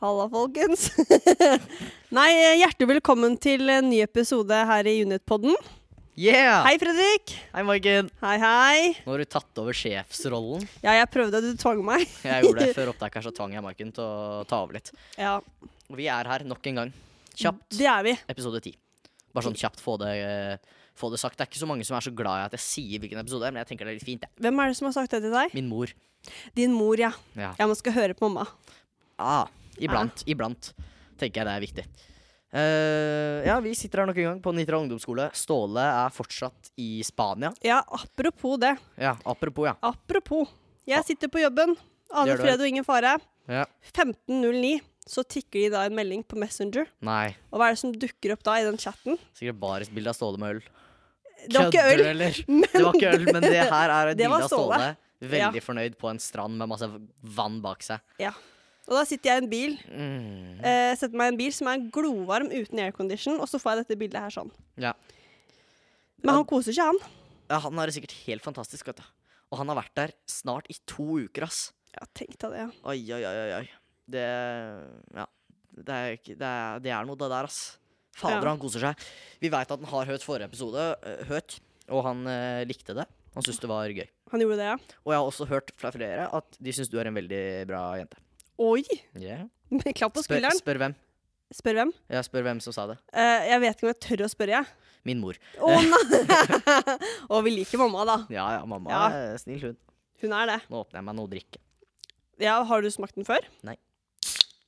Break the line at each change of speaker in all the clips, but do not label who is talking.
Halla, folkens. Nei, hjertelig velkommen til en ny episode her i Unitpodden.
Yeah!
Hei, Fredrik.
Hei, Maiken.
Hei, hei.
Nå har du tatt over sjefsrollen.
Ja, jeg prøvde, du tvang meg.
Jeg gjorde det før opptaket, her, så tvang jeg Maiken til å ta over litt.
Ja,
Og vi er her nok en gang. Kjapt.
det er vi.
Episode 10. Bare sånn kjapt få det, eh, få det sagt. Det er ikke så mange som er så glad i at jeg sier hvilken episode det er, men jeg tenker det er litt fint. jeg.
Hvem er det som har sagt det til deg?
Min mor.
Din mor, ja.
Ja.
Ja, man skal høre på mamma.
Ah, iblant. Iblant tenker jeg det er viktig. Eh, ja, vi sitter her nok en gang på Nitra ungdomsskole. Ståle er fortsatt i Spania.
Ja, apropos det.
Ja, apropos, ja.
Apropos. Jeg sitter på jobben.
Gjør
Aner
du
fred og ingen fare.
ja.
15.09 så tikker de da en melding på Messenger.
Nei.
Og hva er det som dukker opp da i den chatten?
Sikkert bare et bilde av Ståle med øl.
Det var ikke øl.
Kødder du, eller? Det var ikke øl, men det her er et
Det var
bilde av Ståle.
Ståle.
Veldig fornøyd på en strand med masse vann bak seg.
Ja. Og da sitter jeg i en bil
Mm.
Eh, setter meg i en bil som er glovarm uten aircondition, og så får jeg dette bildet her sånn.
Ja.
Men han koser seg, han.
ja, Han har det sikkert helt fantastisk, vet du. Og han har vært der snart i to uker, ass.
Ja, tenk deg det. ja.
Oi, oi, oi, oi, oi. Det Ja. Det er, ikke- det er, det er noe, det der, ass. Fader,
Ja.
han koser seg. Vi veit at han har hørt forrige episode, eh, hørt, og han eh, likte det. Han syntes det var gøy.
Han gjorde det, ja.
Og jeg har også hørt fra flere at de syns du er en veldig bra jente.
Oi!
Yeah.
Med klapp på
Spør,
skulderen.
spør hvem.
Spør hvem?
Ja, spør hvem som sa det.
Eh, jeg vet ikke om jeg tør å spørre, jeg.
Min mor.
Å nei! og vi liker mamma, da.
Ja, ja, mamma
Ja.
er snill hun.
Hun er det.
Nå åpner jeg meg noe å drikke.
Ja, Har du smakt den før?
Nei.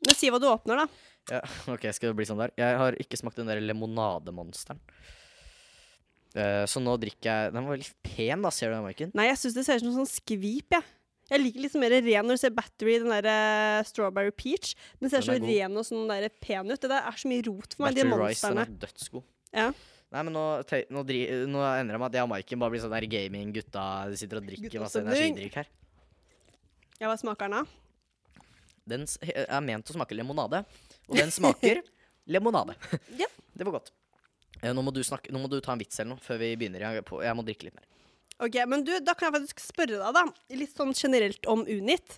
Men si hva du åpner, da.
Ja, ok, skal det bli sånn der. Jeg har ikke smakt den der lemonademonsteren. Eh, så nå drikker jeg Den var litt pen, da, ser du den, Maiken?
Nei, jeg syns det ser ut som en sånn skvip, jeg. Jeg liker litt mer ren når du ser Battery, den der eh, Strawberry Peach. Den ser
Den
så
er god.
ren og sånn der pen ut. Det der er så mye rot for meg, de
Battery Rice, den
monstrene.
er dødsgod.
Ja.
Nei, men nå, te- nå, dri, nå endrer jeg meg at jeg og Maiken bare blir sånn der gaming-gutta. De sitter og drikker masse
Guttastemning.
energidrikk her.
Ja, hva smaker den av?
Den s- er ment å smake limonade, og den smaker limonade.
Ja.
Det var godt. Eh, Nå må, du snakke, nå må du ta en vits eller noe før vi begynner. Jeg, på, jeg må drikke litt mer.
Ok, men du, da kan jeg faktisk spørre deg da, litt sånn generelt om Unit.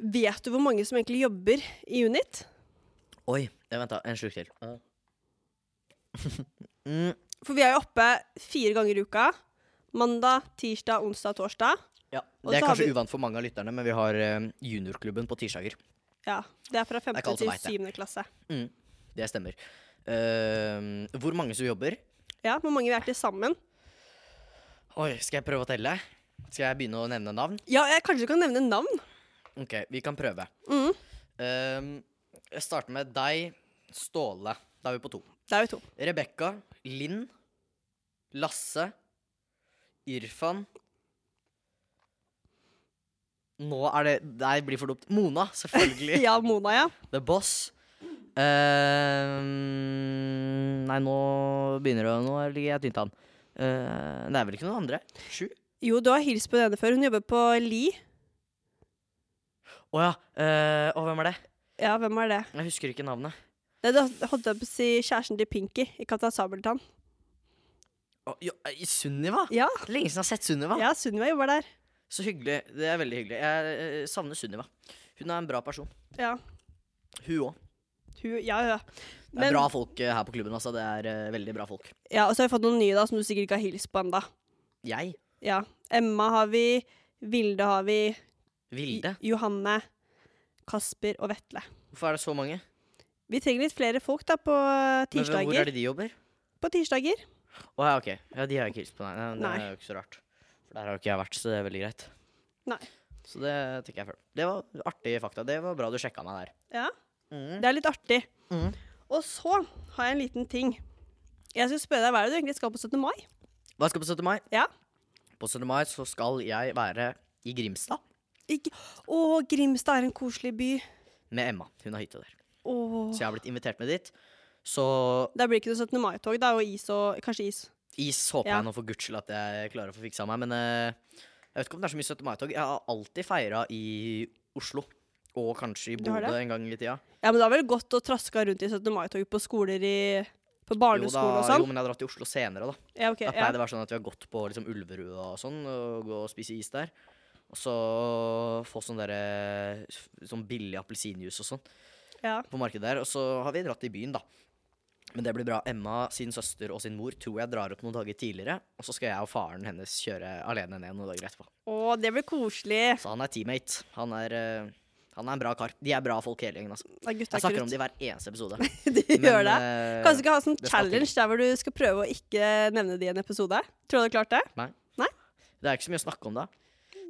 Vet du hvor mange som egentlig jobber i Unit?
Oi, eh, vent da, en slurk til. mm.
For vi er jo oppe fire ganger i uka. Mandag, tirsdag, onsdag, torsdag.
Ja,
Og
det er
så har
kanskje
vi-
uvant for mange av lytterne, men vi har eh, juniorklubben på tirsdager.
Ja, det er fra
er
5.
ikke alle som
til
vet det.
7. klasse.
Det stemmer. Eh, hvor mange som jobber?
Ja, hvor mange vi er til sammen.
Oi, skal jeg prøve å telle? Skal jeg begynne å nevne navn?
Ja, jeg kanskje du kan nevne navn?
Ok, vi kan prøve.
Mhm.
Eh, jeg starter med deg, Ståle. Da er vi på to.
Det er jo to.
Rebekka, Linn, Lasse, Irfan Nå er det Nei, det blir for dumt. Mona, selvfølgelig.
Ja, Mona, ja.
The Boss. Ehm, nei, nå begynner det å- Nå ligger jeg tynt an. Eh, det er vel ikke noen andre? Sju?
Jo, du har hilst på den ene før. Hun jobber på Li.
Å ja. eh, og hvem er det?
Ja, hvem er det?
Jeg husker ikke navnet.
Nei, du holdt jeg på å si kjæresten til Pinky i Katta Sabeltann.
Å, jo, eh, Sunniva?
Ja,
Lenge siden jeg har sett Sunniva.
ja, Sunniva jobber der.
Så hyggelig. Det er veldig hyggelig. Jeg eh, savner Sunniva. Hun er en bra person.
Ja,
Hun òg.
hun, ja, ja.
Det er bra folk eh, her på klubben. Altså. Det er eh, veldig bra folk.
Ja, og så har vi fått noen nye da, som du sikkert ikke har hilst på ennå.
Jeg,
Ja. Emma har vi, Vilde har vi,
Vilde
I- Johanne, Kasper og Vetle.
Hvorfor er det så mange?
Vi trenger litt flere folk da på eh,
Men Hvor er
tirsdager.
det de jobber?
På tirsdager.
Å ja, ok. Ja, de har jeg ikke hilst på, nei. nei. men
Nei.
Det er jo ikke så rart. For der har jo ikke jeg vært, så det er veldig greit.
Nei.
Så det tenker jeg før. Det var artige fakta. Det var bra du sjekka meg der.
Ja,
Mm.
det er litt artig.
Mhm.
Og så har jeg en liten ting. Jeg skal spørre deg, Hva er det du egentlig skal på 17. mai?
Hva skal på 17. mai?
Ja.
På 17. mai så skal jeg være i Grimstad
Ikke. Å, Grimstad er en koselig by.
med Emma. Hun har hytte der.
Å.
Så jeg har blitt invitert med dit. Så
Der blir det ikke noe 17. mai-tog, da, og is og Kanskje is.
is håper
Ja.
jeg nå for guds skyld at jeg klarer å få fiksa meg. Men eh, jeg vet ikke om det er så mye 17. mai-tog. Jeg har alltid feira i Oslo. Og kanskje i
Du har
Bodø
det?
en gang i tida.
Ja, men det er vel godt å traske rundt i 17. mai-tog på skoler i På
Jo, da,
barneskolen og
jo,
sånn?
men jeg har dratt til Oslo senere, da.
Ja, ok.
Da
Ja.
pleier det å være sånn at vi har gått på liksom, Ulverud og sånn, og gå og spise is der. Og så få sånn derre Sånn billig appelsinjuice og sånn.
Ja.
på markedet der. Og så har vi dratt i byen, da. Men det blir bra. Emma, sin søster og sin mor tror jeg drar opp noen dager tidligere. Og så skal jeg og faren hennes kjøre alene ned noen dager etterpå.
Å, det blir koselig.
Så han er teammate. Han er, eh, han er en bra kar. De er bra folk hele gjengen. Altså.
Da gutta
Jeg snakker om
krutt.
det i hver eneste episode.
De gjør det.
eh,
Kanskje ikke ha sånn
det skal til.
challenge der hvor du skal prøve å ikke nevne det i en episode. Tror du du hadde klart det?
Det er ikke så mye å snakke om da.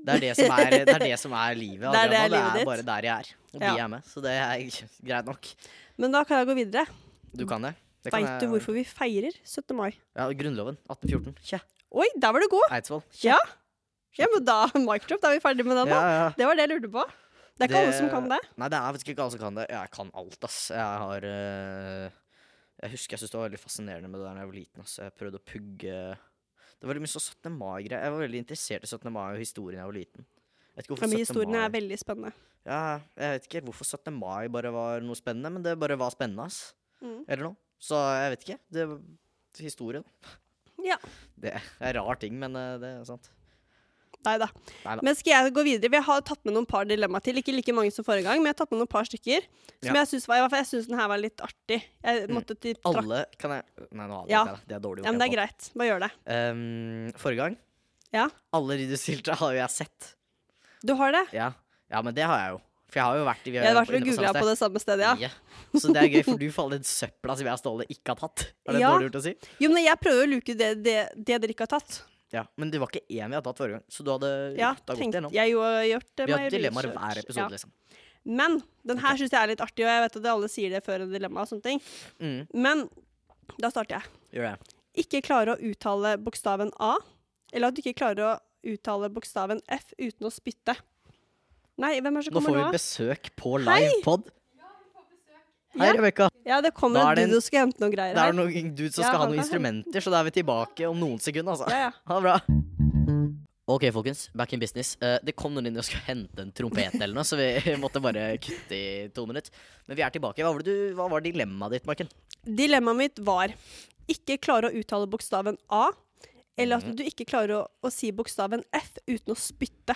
Det er det som er, det er, det som er livet.
Det er det
Adriana.
livet
det
ditt.
er bare der jeg er. Og
Ja.
de er med. Så det er greit nok.
Men da kan jeg gå videre.
Du kan det. det kan
Veit
jeg-
du hvorfor vi feirer 17. mai?
Ja, Grunnloven 1814. Kje.
Oi, der var du god!
Eidsvoll.
Ja. ja, men da mic drop, da er vi ferdige med den, da.
ja.
Det var det jeg lurte på. Det er ikke alle som kan det.
Nei, det er faktisk ikke alle som kan det. Jeg kan alt, ass. Jeg har eh, Jeg husker jeg syntes det var veldig fascinerende med det der da jeg var liten. ass. Jeg prøvde å pugge Det var veldig mye sånn 17. mai-greier. Jeg var veldig interessert i 17. mai og historien da jeg var liten. Jeg vet
Ja,
ikke hvorfor
men
17.
historien
mai
er veldig spennende.
ja, Jeg vet ikke hvorfor 17. mai bare var noe spennende, men det bare var spennende, ass.
Mm.
Eller noe. Så jeg vet ikke. Det Historien.
Ja.
Det er rar ting, men eh, det er sant.
Nei da.
Neida.
Men skal jeg gå videre? Vi har tatt med noen par dilemmaer til. Ikke like mange som forrige gang, men jeg har tatt med noen par stykker. Som
Ja.
jeg syns var, i hvert fall jeg synes den her var litt artig. Jeg
Mm.
måtte til trakk.
Alle kan jeg Nei, nå avbryter
Ja.
jeg deg. Det er dårlig
Ja, men det er greit. Bare gjør det.
Um, forrige gang
Ja.
Alle de du stilte, har jo jeg sett.
Du har det?
Ja. ja, men det har jeg jo. For jeg har jo vært i vi
Jeg har
jo
vært og
inne
googla
samme
på det samme
sted.
stedet, ja.
Ja. Så det er gøy, for du faller i den søpla som jeg og Ståle ikke har tatt. Er det
Ja.
dårlig gjort å si?
Jo, men jeg prøver å luke ut det, det, det dere ikke har tatt.
Ja, Men det var ikke én vi hadde tatt forrige gang, så du hadde
Ja,
da gått
tenkte
igjennom.
jeg jo har gjort eh, det.
Vi hadde dilemmaer hver episode, liksom.
Men den her syns jeg er litt artig, og jeg vet at alle sier det før en dilemma og sånne ting.
Mm,
Men da starter jeg.
gjør det.
Ikke klare å uttale bokstaven A, eller at du ikke klarer å uttale bokstaven F uten å spytte. Nei, hvem er det som
Nå får
kommer
vi
nå?
besøk på livepod. Hei,
Ja.
Rebekka.
Ja, det
Da
kommer
er det
en
en-
dude som skal hente noen
Det
greier
er
her.
noen dude som
Ja,
skal ha
han
noen
kan
instrumenter, så da er vi tilbake om noen sekunder, altså.
Ja, ja.
Ha det bra. Ok, folkens. Back in business. Eh, det kom noen inn og skulle hente en trompet eller noe, så vi måtte bare kutte i to minutter. Men vi er tilbake. Hva var, det du, hva var dilemmaet ditt, Marken?
Dilemmaet mitt var ikke klare å uttale bokstaven A, eller
Mhm.
at du ikke klarer å, å si bokstaven F uten å spytte.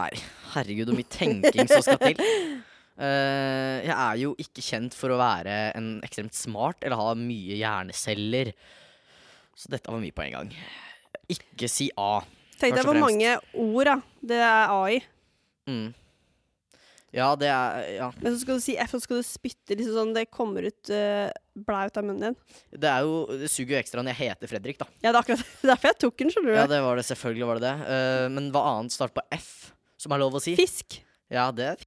Nei, herregud, så mye tenking som skal til. Eh, jeg er jo ikke kjent for å være en ekstremt smart eller ha mye hjerneceller. Så dette var mye på en gang. Ikke si A.
Tenk deg
Først og
hvor
fremst.
mange ord da, det er A i.
Mm. Ja, det er Ja.
Men så skal du si F, og så skal du spytte liksom sånn det kommer ut uh, blæ ut av munnen din.
Det, er jo, det suger jo ekstra når jeg heter Fredrik, da.
Ja, det er akkurat derfor jeg tok den, skjønner du.
Ja, det var det. Selvfølgelig var det det. Eh, men hva annet starter på F, som er lov å si?
Fisk.
Ja, det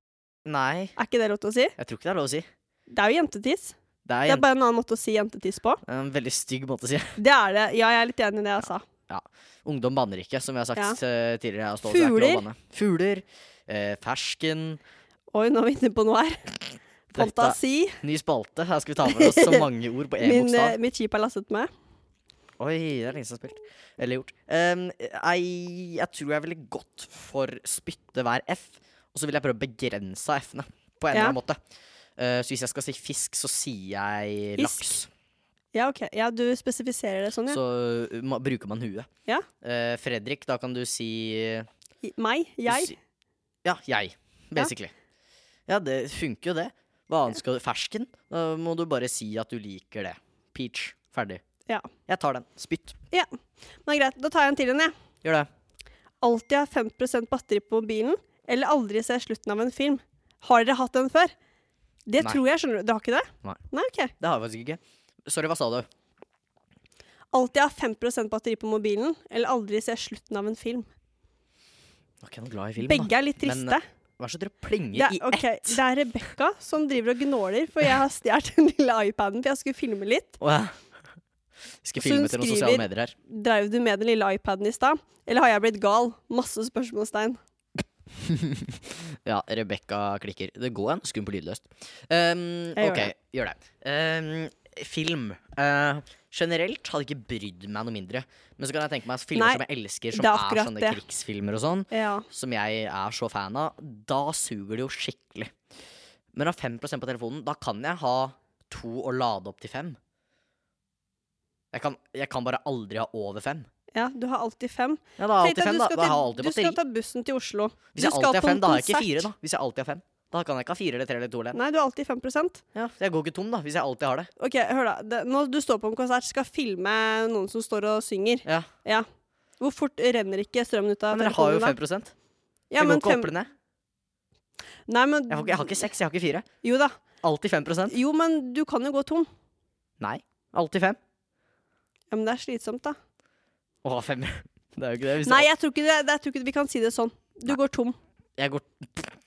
Nei,
Er ikke det lov til å si?
jeg tror ikke det er lov å si.
Det er jo jentetiss.
Det er
Det er
en,
bare en annen måte å si jentetiss på.
en veldig stygg måte å si.
Det er det. Ja, jeg er litt enig i det jeg sa.
Ungdom banner ikke, som jeg har sagt
Ja.
eh, tidligere. Jeg og Ståle, så det er ikke lov å
Fugler.
banne. Fugler. eh, fersken.
Oi, nå er vi inne på noe her.
Dette-
Fantasi.
Ny spalte. Her skal vi ta med oss så mange ord på én
Min, eh,
bokstav.
mitt skip er lastet med.
Oi, det er lenge siden jeg har spilt. Eller gjort. Um, jeg, jeg tror jeg ville gått for spytte hver F, og så vil jeg prøve å begrense F-ene på en
Ja.
eller annen måte. Eh, så hvis jeg skal si fisk, så sier jeg
Fisk.
laks.
Ja, OK. Ja, du spesifiserer det sånn, ja.
Så uh, ma bruker man huet.
Ja.
Eh, Fredrik, da kan du si
I- Meg.
du
Jeg.
si- Ja, jeg, basically. Ja, det funker jo, det. Hva annet skal du Fersken? Da må du bare si at du liker det. Peach. Ferdig.
Ja.
Jeg tar den. Spytt.
Men greit, da tar jeg en til en, jeg.
Gjør det.
Alltid ha 5 batteri på mobilen, eller aldri se slutten av en film. Har dere hatt den før? Det
Nei.
tror jeg, skjønner du. Dere har ikke det?
Nei.
Nei, ok.
Det har jeg faktisk ikke. Sorry, hva sa du?
Alltid ha 5 batteri på mobilen, eller aldri se slutten av en film.
Var ikke noe glad i film,
Begge
da.
er litt
Men,
triste.
Hva er det dere plenger
det, er,
i ett?
ok, det er Rebekka som driver og gnåler, for jeg har stjålet den lille iPaden, for jeg skulle filme litt.
Å, ja. Vi
Så
skal
hun
filme til noen
skriver-
sosiale medier her.
Dreiv du med den lille iPaden i stad? Eller har jeg blitt gal? Masse spørsmålstegn.
Ja, Rebekka klikker. Det går en skum på lydløst. Um,
Jeg gjør
ok, gjør det. Um, film. Uh, generelt hadde ikke brydd meg noe mindre. Men så kan jeg tenke meg filmer
Nei,
som jeg elsker,
det
som
er
er,
akkurat
sånne
det.
krigsfilmer og sånn,
Ja.
som jeg er så fan av. Da suger det jo skikkelig. Men av 5 på telefonen, da kan jeg ha to og lade opp til fem. Jeg kan, jeg kan bare aldri ha over fem.
ja, du har alltid fem.
Ja, da har jeg
Tenk deg at
alltid fem,
du
da.
skal
Da har jeg
til-
alltid
Du skal
batteri.
ta bussen til Oslo.
Hvis jeg
Du skal
alltid har
på en
fem, da har jeg ikke
konsert.
fire, da. Hvis jeg alltid har fem. Da kan jeg ikke ha fire eller tre eller to eller en.
Nei, du er alltid 5 Ok,
Ja, jeg går ikke tom, da, hvis jeg alltid har det.
hør da. Det, når du står på en konsert, skal filme noen som står og synger.
Ja.
Ja. Hvor fort renner ikke strømmen ut av
Men dere har jo
telefonen da?
5 Jeg
Ja,
går
men
ikke
fem,
opp eller ned.
nei, men,
Jeg, får ikke, jeg har ikke seks, jeg har ikke fire.
Jo da.
Alltid 5
Jo, men du kan jo gå tom.
Nei. Alltid fem.
Ja, Men det er slitsomt, da.
Å, fem. Det er jo ikke det. Hvis
Nei, jeg tror ikke, det, det- jeg tror ikke vi kan si det sånn. Du går tom.
jeg går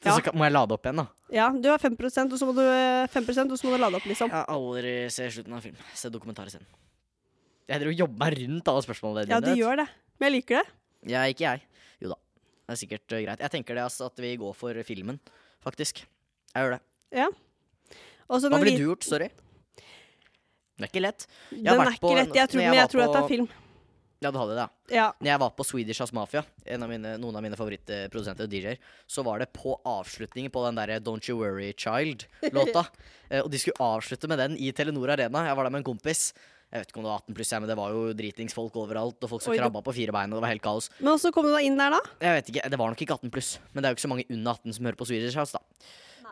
Ja.
Så kan, må jeg lade opp igjen, da.
Ja, du har 5 og så må du, 5%, og så må du lade opp, liksom.
Jeg har aldri se slutten av en film. Se dokumentar isteden. Jeg driver og jobber meg rundt alle spørsmålene
Ja,
dine.
du gjør det. Men jeg liker det.
Ja, ikke jeg. Jo da. Det er sikkert eh, greit. Jeg tenker det altså, at vi går for filmen, faktisk. Jeg gjør det.
Og så
Hva
når
ville
vi-
du gjort? Sorry. Det er ikke lett. Jeg har
Den er
vært på-
ikke lett. Jeg tror,
når jeg
men jeg
var
tror at det
på-
er film.
Ja, du hadde det, ja.
Ja.
Når jeg var på Swedish House Mafia, en av mine, noen av mine favorittprodusenter og DJ-er, så var det på avslutningen på den derre Don't You Worry Child-låta. Eh, og de skulle avslutte med den i Telenor Arena. Jeg var der med en kompis. Jeg vet ikke om det var 18 pluss, jeg, men det var jo dritingsfolk overalt, og folk som
Oi, det-
krabba på fire bein, og det var helt kaos.
Men også kom du da inn der, da?
Jeg vet ikke, Det var nok ikke 18 pluss, men det er jo ikke så mange under 18 som hører på Swedish House, da.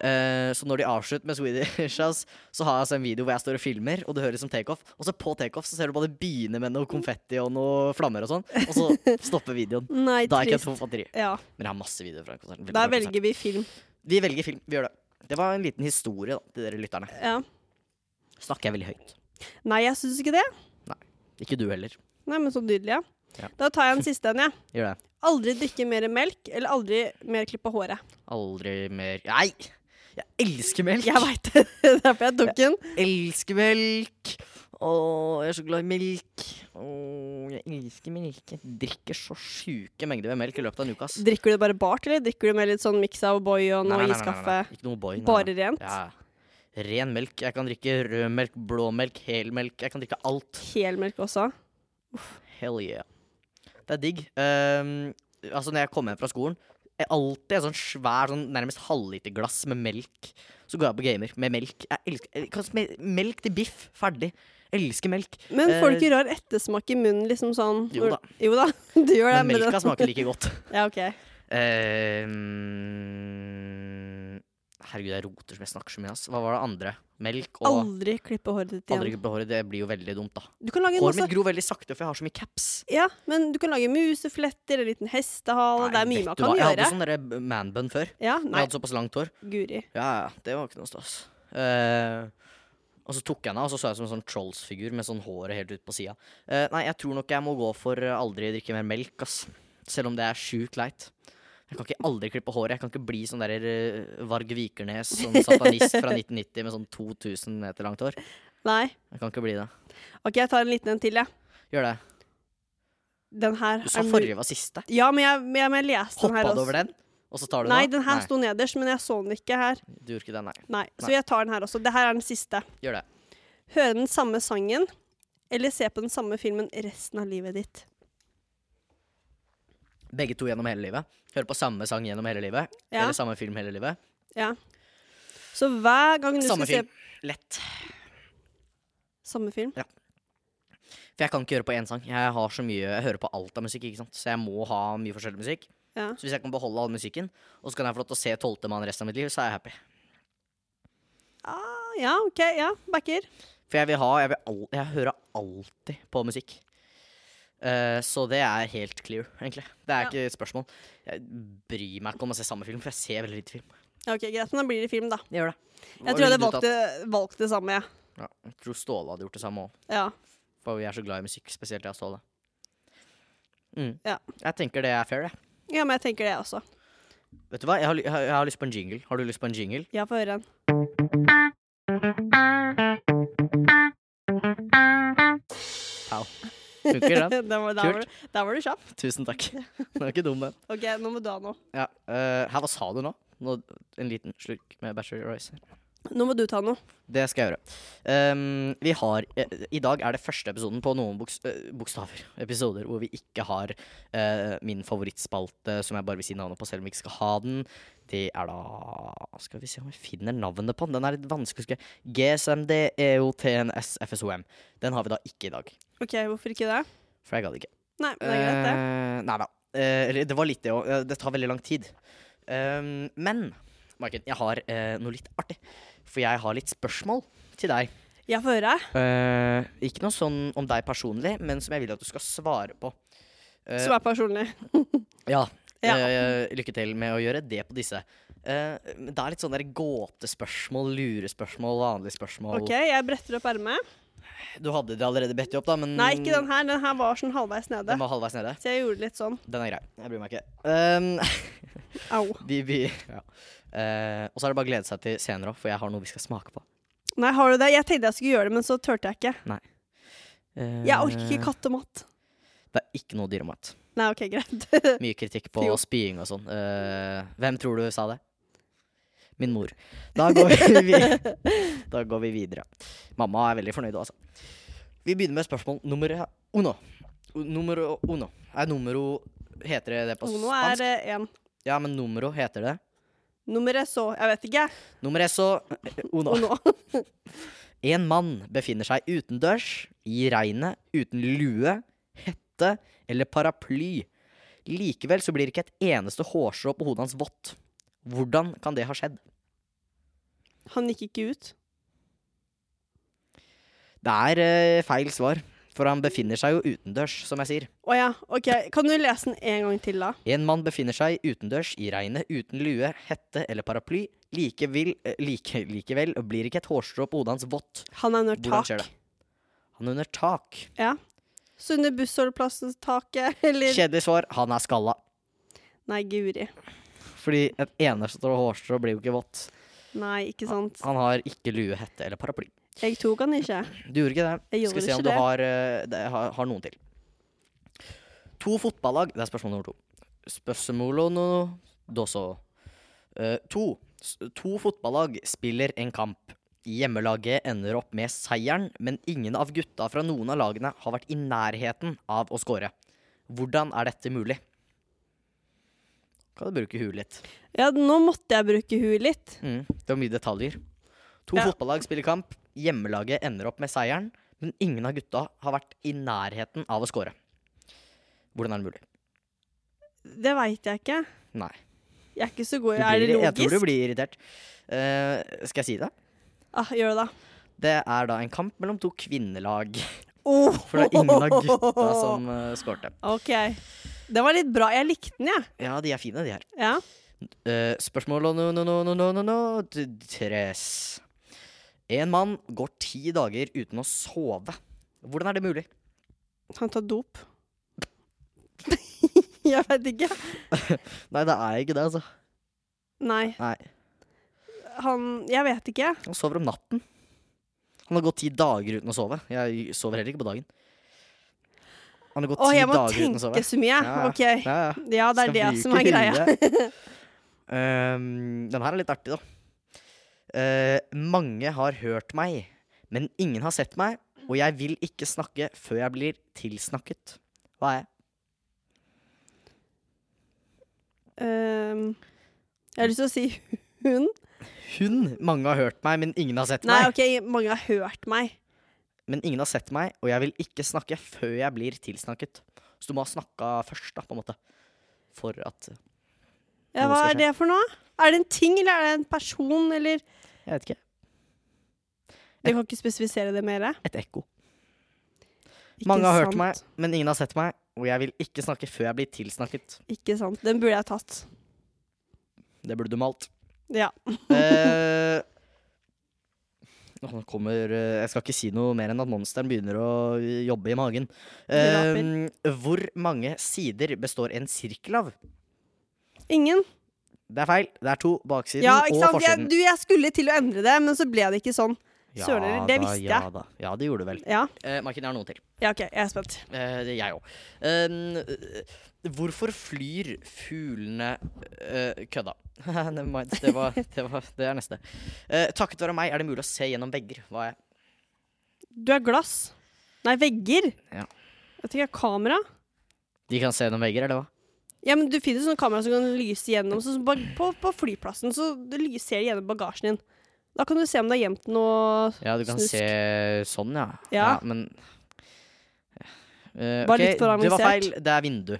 Eh, så når de avslutter med Swedish House, så har jeg altså en video hvor jeg står og filmer, og det høres som takeoff. Og så på takeoff så ser du bare det begynner med noe konfetti og noe flammer og sånn, og så stopper videoen.
Nei,
Da er ikke jeg
trist.
tom for batteri.
Ja,
Men jeg har masse videoer fra konserten.
der
Veldig bra konsert.
velger vi film.
Vi velger film. Vi gjør det. Det var en liten historie da, til dere lytterne.
Ja.
Snakker jeg veldig høyt?
Nei, jeg syns ikke det.
Ikke du heller.
Nei, men så nydelig, ja.
Ja.
Da tar jeg en siste en, jeg.
Gjør det.
Aldri drikke mer melk, eller aldri mer klippe håret.
Aldri mer Nei! Jeg elsker melk!
Jeg veit det. Det er derfor jeg tok den.
elsker melk! Å, jeg er så glad i melk. Å, jeg elsker melk. Jeg drikker så sjuke mengder med melk i løpet av en uke, ass.
Drikker du bare bart, eller drikker du med litt sånn mix av O'boy og
Nei,
noe
nei, nei, nei, nei,
iskaffe?
nei. Ikke noe boy. nei,
Bare
nei.
rent?
Ja. Ren melk. Jeg kan drikke rød melk, blå melk, hel melk. Jeg kan drikke alt.
Helmelk også?
Hell yeah. Det er digg. Ehm, altså Når jeg kommer hjem fra skolen, jeg alltid et sånn svær, sånn nærmest halvliterglass med melk. Så går jeg på gamer med melk. Jeg elsker, jeg kan sme- melk til biff. Ferdig. Elsker melk.
Men får du
Eh,
ikke rar ettersmak i munnen, liksom sånn?
Jo da.
Jo da, du gjør det.
Men
med
melka
den.
smaker like godt.
Ja, ok.
Ehm, herregud, jeg roter som jeg snakker så mye. ass. Hva var det andre? Melk og
Aldri klippe håret ditt
Aldri
igjen.
klippe håret. Det blir jo veldig dumt, da.
Du kan lage en
Håret
masse
mitt gror veldig sakte, for jeg har så mye caps.
Ja, men du kan lage musefletter, en liten hestehale, det er
Nei,
mye
vet
man
du
kan
hva? Jeg
gjøre.
hadde sånn derre manbun før.
Ja,
Jeg
nei,
hadde såpass langt hår.
guri.
Ja, ja, det var ikke noe stas. Eh, og så tok jeg den av, og så så jeg ut som en sånn Trolls-figur med sånn håret helt ut på sida. Eh, nei, jeg tror nok jeg må gå for eh, aldri drikke mer melk, ass. Selv om det er sjukt leit. Jeg kan ikke aldri klippe håret. Jeg kan ikke bli sånn der eh, Varg Vikernes, sånn satanist fra 1990 med sånn 2000 meter langt hår.
Nei.
Jeg kan ikke bli det.
Ok, jeg tar en liten en til, jeg.
Gjør det.
Den her
Du sa
er mul-
forrige var siste.
Ja, men jeg, men jeg, men jeg leste den Sånn her
Hoppa du
også.
over den, og så tar du
Nei,
den?
den her sto nederst, men jeg så den ikke her.
Nei, du gjorde ikke det, nei.
Nei, så
Nei.
jeg tar den her også. Det her er den siste.
Gjør det.
Høre den samme sangen, eller se på den samme filmen resten av livet ditt.
Begge to gjennom hele livet. Høre på samme sang gjennom hele livet.
Ja.
Eller samme film hele livet.
Ja. Så hver gang du
Samme
skal
film. Lett.
se Samme film?
For jeg kan ikke høre på én sang. Jeg har så mye, jeg hører på alt av musikk, ikke sant? så jeg må ha mye forskjellig musikk.
Ja.
Så hvis jeg kan beholde all musikken, og så kan jeg få lov til å se Tolvtemann resten av mitt liv, så er jeg happy.
Ah, ja, OK. Ja, backer.
For jeg vil ha Jeg, vil al jeg hører alltid på musikk. Eh, så det er helt clear, egentlig. Det er
Ja.
ikke et spørsmål. Jeg bryr meg ikke om å se samme film, for jeg ser veldig lite film.
Ja, ok, Greit, men da blir det film, da.
Jeg gjør det.
Jeg tror jeg hadde valgt det, valgt det samme, jeg.
ja, Jeg tror Ståle hadde gjort det samme òg.
Ja. ja.
For vi er så glad i musikk, spesielt jeg og Ståle. Mm.
Ja.
Jeg tenker det er fair, jeg.
Ja, men jeg tenker det også.
Vet du hva, jeg har, ly- jeg har- jeg har lyst på en jingle. Har du lyst på en jingle?
Ja, få høre en.
Pow. Funker den?
Der var, der var,
Kult.
du- der var du kjapp.
Tusen takk. Den er ikke dum, den.
Ok, nå må du ha noe.
Ja, eh, her, hva sa du nå? nå? En liten slurk med Bachelor Royce.
Nå må du ta noe.
Det skal jeg gjøre. Ehm, vi har eh, I dag er det første episoden på noen boks, eh, bokstaver. Episoder hvor vi ikke har eh, min favorittspalte, som jeg bare vil si navnet på selv om vi ikke skal ha den. Det er da Skal vi se om vi finner navnet på den. Den er litt vanskelig å huske. GSMD, EOTNS, FSOM. Den har vi da ikke i dag.
Ok, hvorfor ikke det?
For jeg gadd ikke.
Nei, men det er greit, det.
Eh, nei da. Eh, eller det var litt det òg. Det tar veldig lang tid. Ehm, men Maiken, jeg har eh, noe litt artig. For jeg har litt spørsmål til deg.
Jeg får høre.
Eh, ikke noe sånn om deg personlig, men som jeg vil at du skal svare på. Eh,
Som er personlig.
Ja.
Ja.
eh, lykke til med å gjøre det på disse. Eh, men det er litt sånn der gåtespørsmål, lurespørsmål, vanlige spørsmål.
OK, jeg bretter opp ermet.
Du hadde det allerede bedt deg opp, da, men
Nei, ikke den her. Den her var sånn halvveis nede.
Den var halvveis nede.
Så jeg gjorde litt sånn.
Den er grei. Jeg bryr meg ikke. Um,
Au.
vi, vi, ja. Eh, og så er det bare å glede seg til senere òg, for jeg har noe vi skal smake på.
Nei, har du det? Jeg tenkte jeg skulle gjøre det, men så turte jeg ikke.
Eh,
Jeg orker ikke kattemat.
Det er ikke noe dyremat.
Nei, OK, greit.
Mye kritikk på
Jo.
spying og sånn. Eh, hvem tror du sa det? Min mor. Da går vi, vi, da går vi videre. Mamma er veldig fornøyd, altså. Vi begynner med spørsmål nummer uno. Numero uno. Er numero Heter det det på
Ono
spansk?
er eh, én.
Ja, men numero heter det.
Nummeret så Jeg vet ikke.
Nummer eso eh, uno.
Ono.
En mann befinner seg utendørs, i regnet, uten lue, hette eller paraply. Likevel så blir ikke et eneste hårstrå på hodet hans vått. Hvordan kan det ha skjedd?
Han gikk ikke ut.
Det er eh, feil svar, for han befinner seg jo utendørs, som jeg sier.
Å ja, OK. Kan du lese den en gang til, da?
En mann befinner seg utendørs, i regnet, uten lue, hette eller paraply. Likevel, eh, like, likevel blir ikke et hårstrå på hodet hans vått.
Han er under
Hvordan skjer
tak.
det? Han er under tak.
Så under bussholdeplassens taket, eller
Kjedelig svar, han er skalla.
Nei, guri.
Fordi et eneste hårstrå blir jo ikke vått.
Nei,
Ah,
ikke sant.
Han har ikke lue, hette eller paraply.
Jeg tok han ikke.
Du gjorde ikke det.
Jeg gjorde
Skal vi se
ikke
om du
det.
har, eh, det, har, har noen til. To fotballag Det er spørsmål nummer to. Spørsmål no doso. Eh, to. S- To fotballag spiller en kamp. Hjemmelaget ender opp med seieren, men ingen av gutta fra noen av lagene har vært i nærheten av å score. Hvordan er dette mulig? Kan du bruke huet litt?
Ja, nå måtte jeg bruke huet litt.
Mm, det var mye detaljer. To
Ja.
fotballag spiller kamp. Hjemmelaget ender opp med seieren, men ingen av gutta har vært i nærheten av å score. Hvordan er det mulig?
Det veit jeg ikke.
Nei.
Jeg er ikke så god.
Du
Er
blir,
det
jeg tror du
logisk?
blir irritert. Eh, skal jeg si det?
Ah, gjør det, da.
Det er da en kamp mellom to kvinnelag.
Oh.
For det er ingen av gutta som uh, skårte.
OK. Det var litt bra. Jeg likte den, jeg.
Ja, de er fine, de her.
Ja.
Eh, spørsmål no, no, no, no, no, no, no, t- tres. En mann går ti dager uten å sove. Hvordan er det mulig?
Han tar dop. jeg veit ikke.
Nei, det er ikke det, altså.
Nei.
Nei.
Han Jeg vet ikke.
Han sover om natten. Han har gått ti dager uten å sove. Jeg sover heller ikke på dagen. Han har gått
Å,
ti
jeg må
dager uten å sove.
tenke så mye.
Ja, ja.
OK.
Ja, ja.
Ja, det er
Skal
det
bruke
som er greia.
huet. Ehm, den her er litt artig, da. Eh, mange har hørt meg, men ingen har sett meg, og jeg vil ikke snakke før jeg blir tilsnakket. Hva er jeg?
Ehm, jeg har lyst til å si hun.
Hun! Mange har hørt meg, men ingen har sett
Nei,
meg.
OK, mange har hørt meg.
Men ingen har sett meg, og jeg vil ikke snakke før jeg blir tilsnakket. Så du må ha snakka først, da, på en måte. For at
Ja,
Noe
hva
skal
er det for noe? Er det en ting, eller er det en person, eller
Jeg vet ikke.
Jeg kan ikke spesifisere det mer.
Et ekko.
Ikke
Mange har
sant.
hørt meg, men ingen har sett meg, og jeg vil ikke snakke før jeg blir tilsnakket.
Ikke sant. Den burde jeg tatt.
Det burde du malt.
Ja.
Eh, Nå kommer eh, Jeg skal ikke si noe mer enn at monsteren begynner å jobbe i magen. Eh, hvor mange sider består en sirkel av?
Ingen.
Det er feil. Det er to. Baksiden
Ja,
og
ikke sant. Jeg,
forsiden.
du, jeg skulle til å endre det, men så ble det ikke sånn. søler, det
da,
visste
ja,
jeg.
Da. Ja, det gjorde du vel.
Ja,
Eh, Marken, jeg har noe til.
ja OK. Jeg er spent.
Eh, det er jeg òg. Eh, hvorfor flyr fuglene eh, Kødda. Never mind. Det, var, det, var, det er neste. Eh, takket være meg er det mulig å se gjennom vegger. Hva er jeg?
Du er glass. Nei, vegger.
Ja.
Jeg tenker kamera.
De kan se gjennom vegger, eller hva?
Ja, men Du finner sånne kamera som kan lyse gjennom. Sånn som bag- på, på flyplassen så det lyser det gjennom bagasjen din. Da kan du se om det er gjemt noe
Ja, du kan
Snusk.
se sånn, ja.
Ja.
men Eh,
Bare
ok,
litt for
Det var
avansert.
feil. Det er vindu.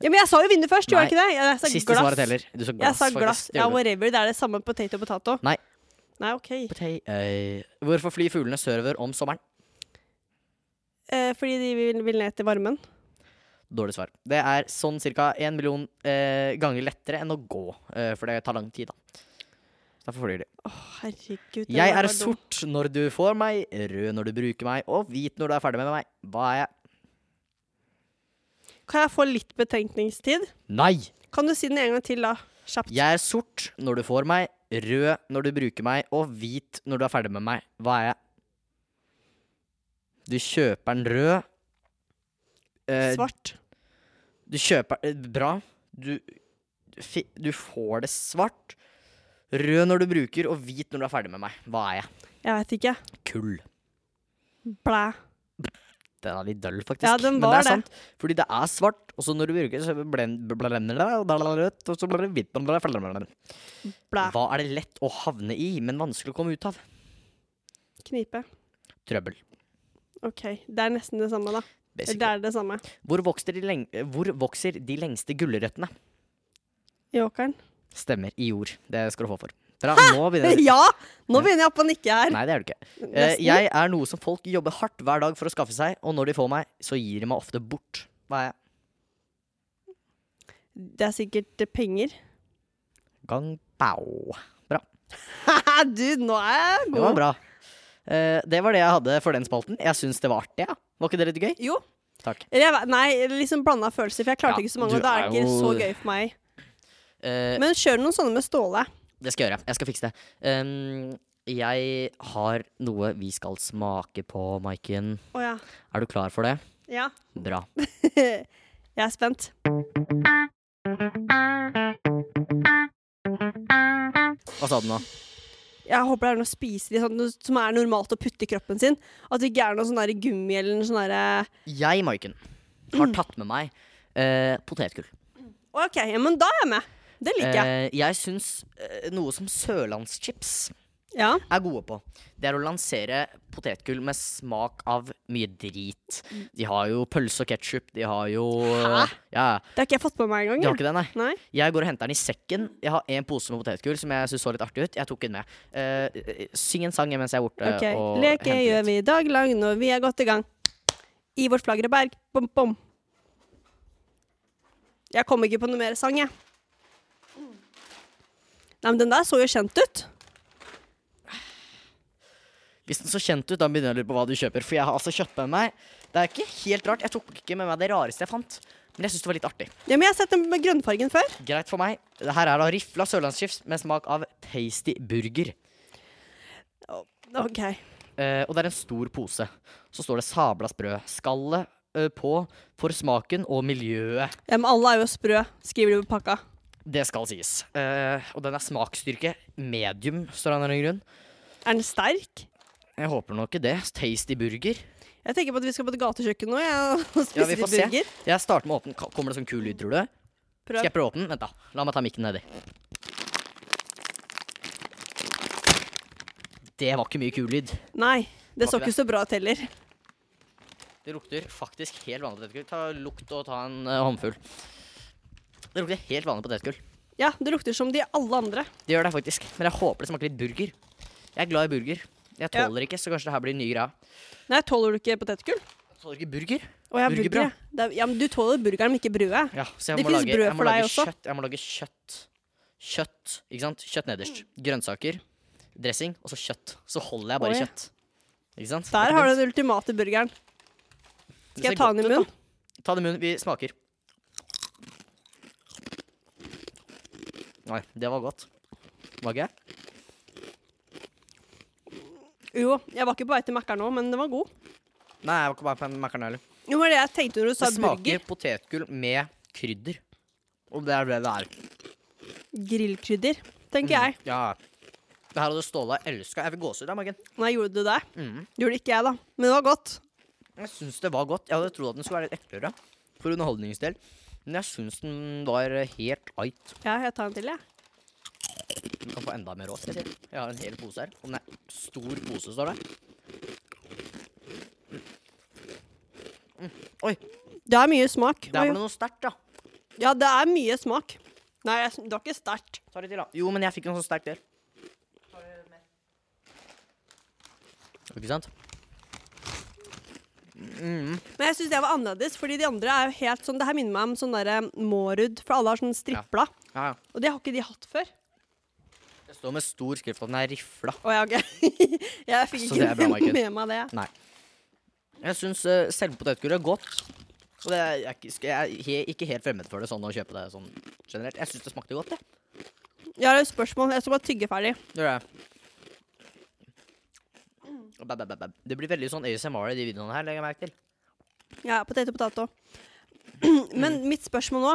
Ja, men jeg sa jo vindu først, gjorde jeg
Nei.
ikke det? Jeg sa
Siste
glass.
svaret teller. Du sa
Jeg
glass,
sa glass.
faktisk. Det
Ja,
gjorde du.
whatever. Det er det samme potato potato.
Nei.
Nei, ok.
Potei- eh, Hvorfor flyr fuglene sørover om sommeren?
Eh, fordi de vil, vil ned til varmen.
Dårlig svar. Det er sånn ca. én million eh, ganger lettere enn å gå, eh, for det tar lang tid, da. Så Derfor flyr de.
Å, herregud. det
Jeg
var
er
dumt.
sort når du får meg, rød når du bruker meg, og hvit når du er ferdig med meg. Hva er jeg?
Kan jeg få litt betenkningstid?
Nei!
Kan du si den en gang til, da? Kjapt.
Jeg er sort når du får meg, rød når du bruker meg, og hvit når du er ferdig med meg. Hva er jeg? Du kjøper den rød. Eh,
Svart.
Du kjøper eh, Bra. Du, du fi- du får det svart. Rød når du bruker, og hvit når du er ferdig med meg. Hva er jeg?
Jeg veit ikke.
Kull.
Blæ.
Den er litt døll, faktisk.
Ja, den
Men
var
det er
det.
sant. Fordi det er svart, og så når du bruker det, så blender blender det, og da blir det rødt, og så blir det hvitt. og da blir det ferdig med det.
Blæ.
Hva er det lett å havne i, men vanskelig å komme ut av?
Knipe.
Trøbbel.
OK. Det er nesten det samme, da. Eller det
Basically.
er det samme.
Hvor vokser, de leng hvor vokser de lengste gulrøttene?
I åkeren.
Stemmer. I jord. Det skal du få for. Bra, nå begynner du.
Ja! Nå begynner jeg å panikke her.
Nei, det er du ikke. Eh,
Nesten.
jeg er noe som folk jobber hardt hver dag for å skaffe seg, og når de får meg, så gir de meg ofte bort. Hva er jeg?
Det er sikkert eh, penger.
Gang bao.
du, nå er jeg
Det var
god.
bra. Eh, det var det jeg hadde for den spalten. Jeg syns det var artig, ja. Var ikke det litt gøy?
Jo.
Takk.
Eller jeg, vet- nei, liksom blanda følelser, for jeg klarte
Ja,
ikke så mange.
du
Og da er det
er
ikke
jo-
så gøy for meg.
Eh,
Men kjør noen sånne med Ståle.
det skal jeg gjøre. Jeg skal fikse det. Um, jeg har noe vi skal smake på, Maiken.
Å ja.
Er du klar for det?
Ja.
Bra.
jeg er spent.
Hva sa du nå?
Jeg håper det er noe spiselig sånn, noe som er normalt å putte i kroppen sin. At det ikke er noe sånn der gummi eller noe sånn derre
Jeg, Maiken, har tatt med meg eh, potetgull.
OK, ja, men da er jeg med. Det liker jeg.
Eh, jeg syns eh, noe som sørlandschips
Ja.
er gode på, det er å lansere potetgull med smak av mye drit. De har jo pølse og ketsjup, de har jo
Mm. Hæ?
Ja,
Det har ikke jeg fått med meg
de har
engang. jeg.
ikke det, nei.
Nei.
Jeg går og henter den i sekken. Jeg har en pose med potetgull som jeg syns så litt artig ut. Jeg tok den med. Eh, syng en sang mens jeg er borte.
OK.
og
Leke
henter
gjør
litt.
vi dag lang når vi er godt i gang. I vårt flagre berg. Bom, bom. Jeg kom ikke på noe mer sang, jeg. Nei, men den der så jo kjent ut.
Hvis den så kjent ut, da begynner jeg å lure på hva du kjøper. For jeg har altså kjøpt med meg Det er ikke helt rart. Jeg tok ikke med meg det rareste jeg fant. Men jeg syns det var litt artig.
Ja, men jeg har sett den med grønnfargen før.
Greit for meg. Her er da rifla sørlandschips med smak av tasty burger.
OK.
Eh, og det er en stor pose. Så står det sabla sprø. Skallet eh, på for smaken og miljøet.
Ja, men alle er jo sprø, skriver de på pakka.
Det skal sies. Eh, og den er smaksstyrke medium, står det av en eller annen grunn.
Er den sterk?
Jeg håper nå ikke det. Tasty burger.
Jeg tenker på at vi skal på et gatekjøkken nå jeg, og spise
Ja, vi
litt
får se.
burger.
Jeg starter med å åpne. Ka- Kommer det sånn kul lyd, tror du?
Prøv.
Skal jeg prøve å åpne den? Vent, da. La meg ta mikken nedi. Det var ikke mye kul lyd.
Nei, det så
Var ikke
ikke så bra ut heller.
Det lukter faktisk helt vanlig potetgull. Ta lukt og ta en eh, håndfull. Det lukter helt vanlig potetgull.
Ja, det lukter som de alle andre.
Det gjør det faktisk. Men jeg håper det smaker litt burger. Jeg er glad i burger. Jeg
Ja.
tåler ikke, så kanskje det her blir en ny greie.
Nei, tåler du ikke potetgull?
Tåler ikke burger?
Å, jeg har
Burgerbrød.
burger, ja. Det er- Ja, men du tåler burgeren, men ikke brødet.
Ja, så jeg
Det
må
finnes
lage,
brød
jeg må
for deg
lage
også.
Kjøtt, jeg må lage kjøtt. Kjøtt, ikke sant? Kjøtt nederst. Grønnsaker, dressing, og så kjøtt. Så holder jeg bare
Oi.
kjøtt. Ikke sant?
Der har du den ultimate burgeren. Skal jeg ta den i munnen?
Ta den i munnen. Vi smaker. Nei, det var godt. Var ikke jeg?
Jo, jeg var ikke på vei til Mækkern nå, men den var god.
Nei, jeg var ikke bare på en makkeren heller.
Jo, men det jeg tenkte når du sa
Det smaker
burger.
potetgull med krydder. Og det er det det er.
Grillkrydder, tenker jeg.
Mm, Ja. Det her hadde Ståle elska. Jeg vil gåsehud av magen.
Nei, gjorde du det?
Mm.
Gjorde ikke jeg, da. Men det var godt.
Jeg syns det var godt. Jeg hadde trodd at den skulle være litt eklere for underholdningens del. Men jeg syns den var helt light.
Ja, jeg tar en til, jeg.
Du kan få enda mer råd. skal Jeg, si. jeg har en hel pose her. Og den er stor pose, står det. Mm. Oi,
Det er mye smak.
der var
Oi,
det noe sterkt, ja.
Ja, det er mye smak. Nei, jeg, det var ikke sterkt.
Ta litt til, da. Jo, men jeg fikk en så sterk del. Ikke sant?
Men jeg syns det var annerledes, fordi de andre er jo helt sånn Det her minner meg om sånn derre Mårud, for alle har sånn stripla.
Ja, ja.
Og det har ikke de hatt før.
Det står med stor skrift at den er rifla.
Å ja, OK. jeg fikk
Så det
ikke
er bra, Maiken.
med meg det.
Nei. Jeg syns selve potetgullet er godt. Og det er, jeg, er ikke- skal- jeg er he- ikke helt fremmed for det sånn å kjøpe det sånn generelt. Jeg syns det smakte godt, jeg.
Jeg har et spørsmål. Jeg skal bare tygge ferdig.
Gjør det. Bæ, bæ, bæ, bæ. Det blir veldig sånn ASMR i de videoene her, legger jeg merke til.
Ja, potet og potet òg. Men
Mm.
mitt spørsmål nå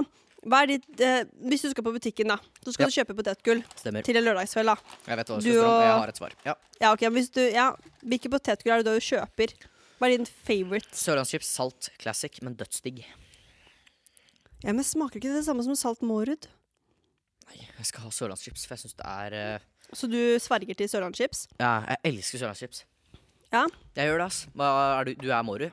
hva er ditt, eh, Hvis du skal på butikken, da, så skal
Ja.
du kjøpe potetgull
Stemmer.
til en lørdagskveld. da.
Jeg vet hva du
Du
skal spørre om. og Jeg
og-
har et svar. Ja.
Ja, ok, men hvis du, ja, Hvilke potetgull er det da du kjøper? Hva er din favorite?
Sørlandschips salt classic, men dødsdigg.
Ja, men Smaker ikke det samme som salt Mårud?
Jeg skal ha sørlandschips, for jeg syns det er eh,
Så du sverger til Sørlandschips?
Ja, jeg elsker sørlandschips.
Ja.
Jeg gjør det, ass. Hva er du? Du er Mårud?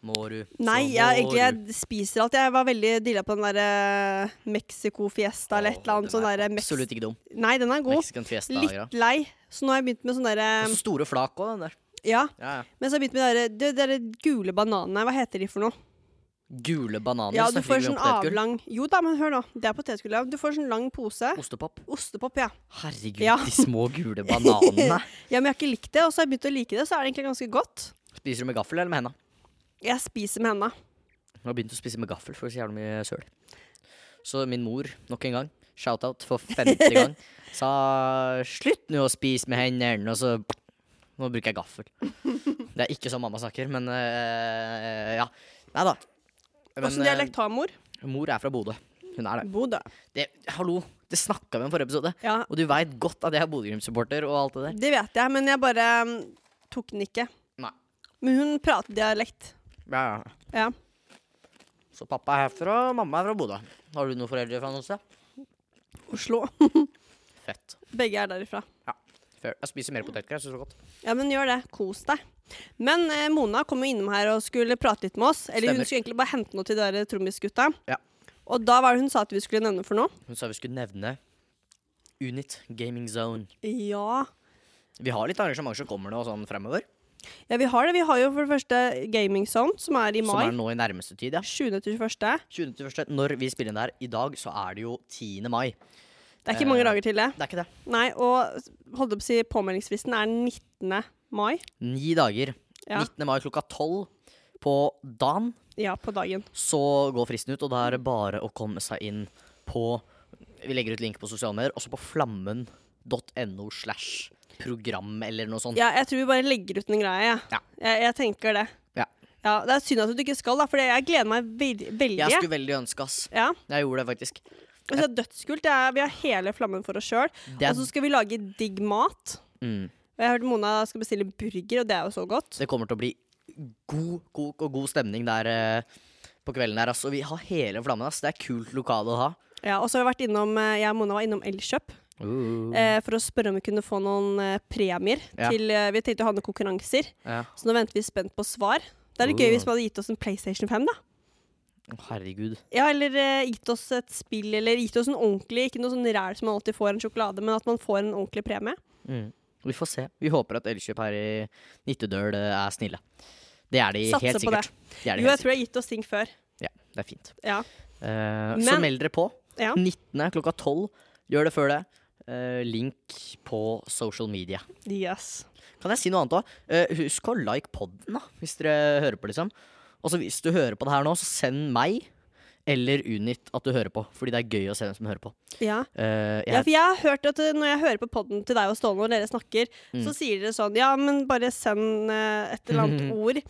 Mårud. Så
Nei, jeg,
Mårud.
egentlig, jeg spiser alt. Jeg var veldig dilla på den der eh, Mexico-fiesta eller et
Åh,
eller annet.
den
sånn
er
der, eh, Mex
Absolutt ikke dum.
Nei, den er god.
Mexican fiesta. greia.
Litt lei. Så nå har jeg begynt med sånn derre
Og så store flak òg, den der.
Ja.
Ja, ja.
Men så har jeg begynt med de der- de der gule bananene. Hva heter de for noe?
Gule bananer.
Ja, du
snakker
får
vi om
sånn
potetgull.
avlang Jo da, men hør nå. Det er potetgull. ja. Du får sånn lang pose.
Ostepop.
Ostepop, ja.
Herregud,
Ja.
de små gule bananene.
Ja, Men jeg har ikke likt det, og så har jeg begynt å like det, så er det egentlig ganske godt.
Spiser du med gaffel eller med henda?
Jeg spiser med henda.
Jeg har begynt å spise med gaffel for så jævlig mye søl. Så min mor, nok en gang, shout-out for femte gang, sa 'slutt nå å spise med hendene', og så Nå bruker jeg gaffel. Det er ikke sånn mamma snakker, men øh, ja. Nei da.
Åssen
eh,
dialekt har mor?
mor er fra Bodø. Hun er det.
Bodø.
det hallo, det snakka vi om i forrige episode.
Ja,
Og du veit godt at jeg er Bodø-Glimt-supporter og alt det der.
det vet jeg, men jeg bare mm, tok den ikke.
Nei.
Men hun prater dialekt.
Ja, ja.
Ja.
Så pappa er herfra, og mamma er fra Bodø. Har du noen foreldre fra noe sted?
Oslo.
Fett.
Begge er derifra.
Fair. Jeg spiser mer potetgull, jeg syns det var godt.
Ja, men gjør det. Kos deg. Men eh, Mona kom jo innom her og skulle prate litt med oss. Eller
Stemmer.
hun skulle egentlig bare hente noe til dere trommisgutta.
Ja.
Og da var det hun sa at vi skulle nevne for noe.
Hun sa vi skulle nevne Unit Gaming Zone.
Ja.
Vi har litt arrangementer som kommer nå og sånn fremover.
Ja, vi har det. Vi har jo for det første Gaming Zone, som er i
Som
mai.
er nå i nærmeste tid, ja.
20. til 21.
20.1. Når vi spiller inn der i dag, så er det jo 10. mai.
Det er ikke
Eh.
mange dager til det.
Det er ikke det.
Nei, og holdt opp å si påmeldingsfristen er 19. mai.
Ni dager.
Ja.
19. mai klokka tolv på dagen.
Ja, på dagen.
så går fristen ut, og da er det bare å komme seg inn på Vi legger ut link på sosiale medier, også på flammen.no slash program eller noe sånt.
Ja, jeg tror vi bare legger ut den greia, jeg.
Ja.
Jeg, jeg tenker det.
Ja.
Ja, Det er synd at du ikke skal, da, for jeg gleder meg veldig. veldig.
Jeg skulle veldig ønske, ass.
Ja.
Jeg gjorde det faktisk.
Og så er Altså, det dødskult. Det er, vi har hele flammen for oss sjøl.
Det,
Og så skal vi lage digg mat.
mm,
Og jeg hørte Mona skal bestille burger, og det er jo så godt.
det kommer til å bli god kok og god stemning der eh, på kvelden der, ass. Og vi har hele flammen, ass. Det er kult lokale å ha.
Ja, Og så har vi vært innom, eh, jeg og Mona var innom Elkjøp eh, for å spørre om vi kunne få noen eh, premier.
Mm. Ja.
Til, eh, vi tenkte å ha noen konkurranser,
Ja.
så nå venter vi spent på svar. Det hadde vært gøy
Oh.
hvis man hadde gitt oss en PlayStation 5, da.
Å, Herregud.
Ja, Eller eh, gitt oss et spill, eller gitt oss en ordentlig, ikke noe sånn ræl som man alltid får, en sjokolade, men at man får en ordentlig premie.
Mm. Vi får se. Vi håper at Elkjøp her i Nittedøl eh, er snille. Det er de
Satser
helt
på det.
sikkert. Det er
Jo, jeg
de helt sikkert.
tror jeg har gitt oss ting før.
Ja, det er fint.
Ja.
Eh, så
Men-
meld dere på.
ja.
19. klokka 12. Gjør det før det. Eh, link på social media.
Yes.
Kan jeg si noe annet òg? husk å like podden, da, hvis dere hører på, liksom. Og så hvis du hører på det her nå, så send meg eller Unit at du hører på. Fordi det er gøy å se hvem som hører på.
Ja.
Eh,
Ja,
jeg,
for jeg har hørt at eh, når jeg hører på podden til deg og Ståle når dere snakker,
Mm.
så sier dere sånn Ja, men bare send eh, et eller annet ord.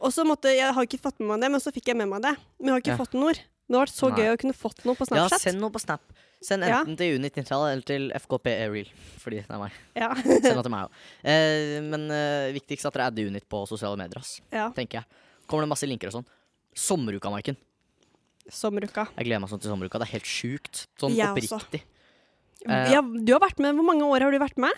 Og så måtte Jeg har ikke fått med meg det, men så fikk jeg med meg det. Men jeg har ikke
Ja.
fått noen ord. Men det har vært så
Nei.
gøy å kunne fått noe på
ja,
Snapchat.
send noe på Snap. Send
Ja.
enten til Unit Nintal eller til FKP Airreel. Fordi det er meg.
Ja.
Send det til meg òg. men eh, viktigst at dere adder Unit på sosiale medier, ass.
ja.
Tenker jeg. Kommer det masse linker og sånn. Sommeruka, Maiken.
Sommeruka.
Jeg gleder meg sånn til sommeruka. Det er helt sjukt. Sånn
Jeg også.
oppriktig. Eh.
Ja, du har vært med Hvor mange år har du vært med?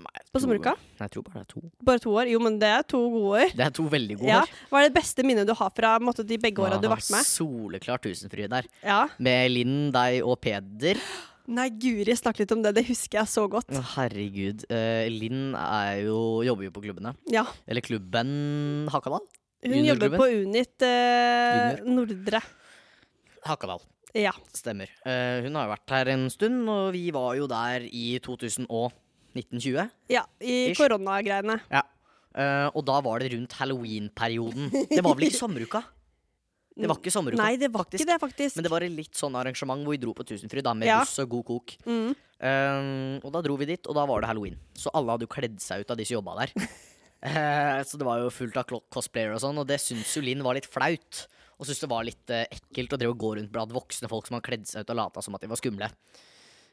Nei, jeg
På
tror-
sommeruka?
Nei, jeg tror bare det er to.
Bare to år? Jo, men det er to gode år.
Det er to veldig gode
Ja.
år.
Hva er det beste minnet du har fra måtte, de begge åra du
Ah,
har vært med?
Soleklar tusenfryd der.
Ja.
Med Linn, deg og Peder.
Nei, Guri snakk litt om det. Det husker jeg så godt.
Å, Herregud. Eh, Linn er jo, jobber jo på klubbene.
Ja.
Eller klubben Hakadal?
Hun jobber
Juniorklubben?
på Unit eh, Nordre.
Hakadal.
Ja.
Stemmer. Eh, hun har jo vært her en stund, og vi var jo der i 2019-20.
ja I
Ish.
koronagreiene.
Eh, og da var det rundt halloween-perioden. Det var vel ikke sommeruka? Det var ikke sommeruka.
Nei, det var
faktisk.
ikke det, faktisk.
Men det var et litt sånn arrangement hvor vi dro på Tusenfryd da, med
Ja.
buss og god kok.
Mm.
Eh, og da dro vi dit, og da var det halloween. Så alle hadde jo kledd seg ut av de som jobba der. Eh, så det var jo fullt av klo- cosplayere og sånn, og det syns jo Linn var litt flaut. Og syntes det var litt eh, ekkelt å drive og gå rundt blant voksne folk som hadde kledd seg ut og lata som at de var skumle.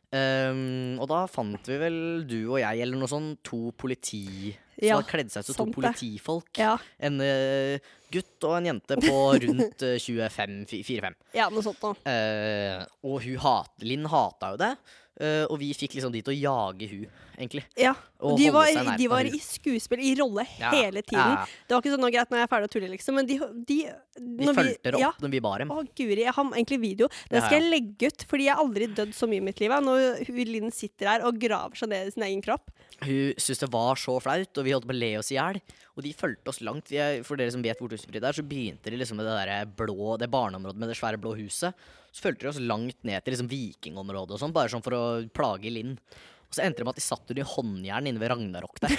Eh, og da fant vi vel, du og jeg, eller noe sånn, to politi... Som
Ja,
hadde kledd seg ut som to
sant det.
politifolk.
Ja.
En eh, gutt og en jente på rundt eh, 25-4-5.
ja, noe sånt noe.
Eh, og hun hat, Linn hata jo det, eh, og vi fikk liksom de til å jage hun, egentlig.
Ja.
Og
De
holde
var,
seg nærme
de var
hun.
i skuespill, i rolle,
Ja,
hele tiden.
ja, ja.
Det var ikke sånn «Nå, greit, nå er jeg ferdig å tulle, liksom. Men de, de,
De
når vi-
fulgte det
Ja,
opp når vi bar dem.
Å, guri, jeg har egentlig video. Den
Ja,
skal
ja.
jeg legge ut, fordi jeg har aldri dødd så mye i mitt liv. jeg, Når hun Linn sitter her og graver seg ned i sin egen kropp.
Hun syntes det var så flaut, og vi holdt på å le oss i hjel. Og de fulgte oss langt. Vi er, for dere som vet hvor Tusenfryd er, så begynte de liksom med det der blå, det barneområdet med det svære blå huset. Så fulgte de oss langt ned til liksom vikingområdet og sånn, bare sånn for å plage Linn. Og så endte det med at de satt under håndjern inne ved Ragnarok der.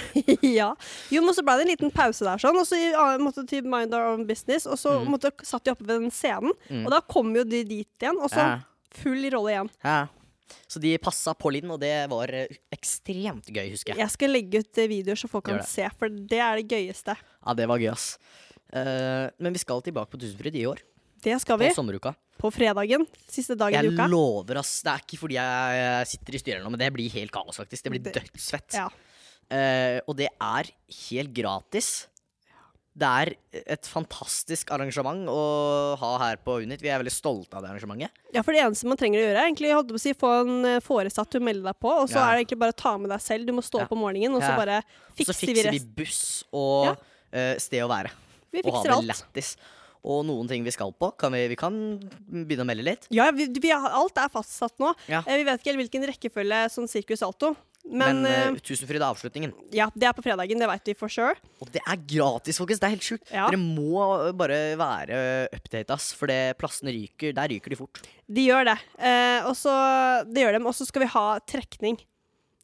ja. Jo, men så ble det en liten pause der, sånn, og så ja, måtte til Mind Our Own Business. Og så
Mm.
måtte, satt de oppe ved den scenen, og da kom jo de dit igjen. Og så
Ja.
full i rolle igjen.
Ja. Så de passa på Linn, og det var eh, ekstremt gøy, husker jeg.
Jeg skal legge ut eh, videoer så folk kan
Gjør det.
se, for det er det gøyeste.
Ja, det var gøy, ass. Eh, men vi skal tilbake på Tusenfryd i år,
Det skal
på
vi.
sommeruka.
På fredagen. Siste dagen
Jeg
i uka.
lover, ass. Det er ikke fordi jeg sitter i styret nå, men det blir helt kaos, faktisk. Det blir
Det-
dødsfett.
Ja.
Eh, og det er helt gratis. Det er et fantastisk arrangement å ha her på Unit. Vi er veldig stolte av det arrangementet.
ja, for det eneste man trenger å gjøre, er egentlig holdt jeg på å si, få en eh, foresatt du melder deg på, og så
Ja.
er det egentlig bare å ta med deg selv. Du må stå
Ja.
opp om morgenen, og så
Ja.
bare
Og Så
fikser, vi
fikser vi
resten.
buss og
Ja.
eh, sted å være.
Vi
og
fikser
ha det
alt.
lættis. Og noen ting vi skal på. Kan vi, vi kan begynne å melde litt.
Ja, vi, vi, har- alt er fastsatt nå.
Ja.
Eh, Vi vet ikke helt hvilken rekkefølge sånn sirkus alto. Men,
Men,
eh,
eh, Tusenfryd er avslutningen.
ja, det er på fredagen, det vet vi for sure.
Og det er gratis, folkens! Det er helt sjukt.
Ja.
Dere må ø, bare være update, ass, for det plassene ryker. Der ryker de fort.
De gjør det. Eh, og så det gjør dem. Og så skal vi ha trekning.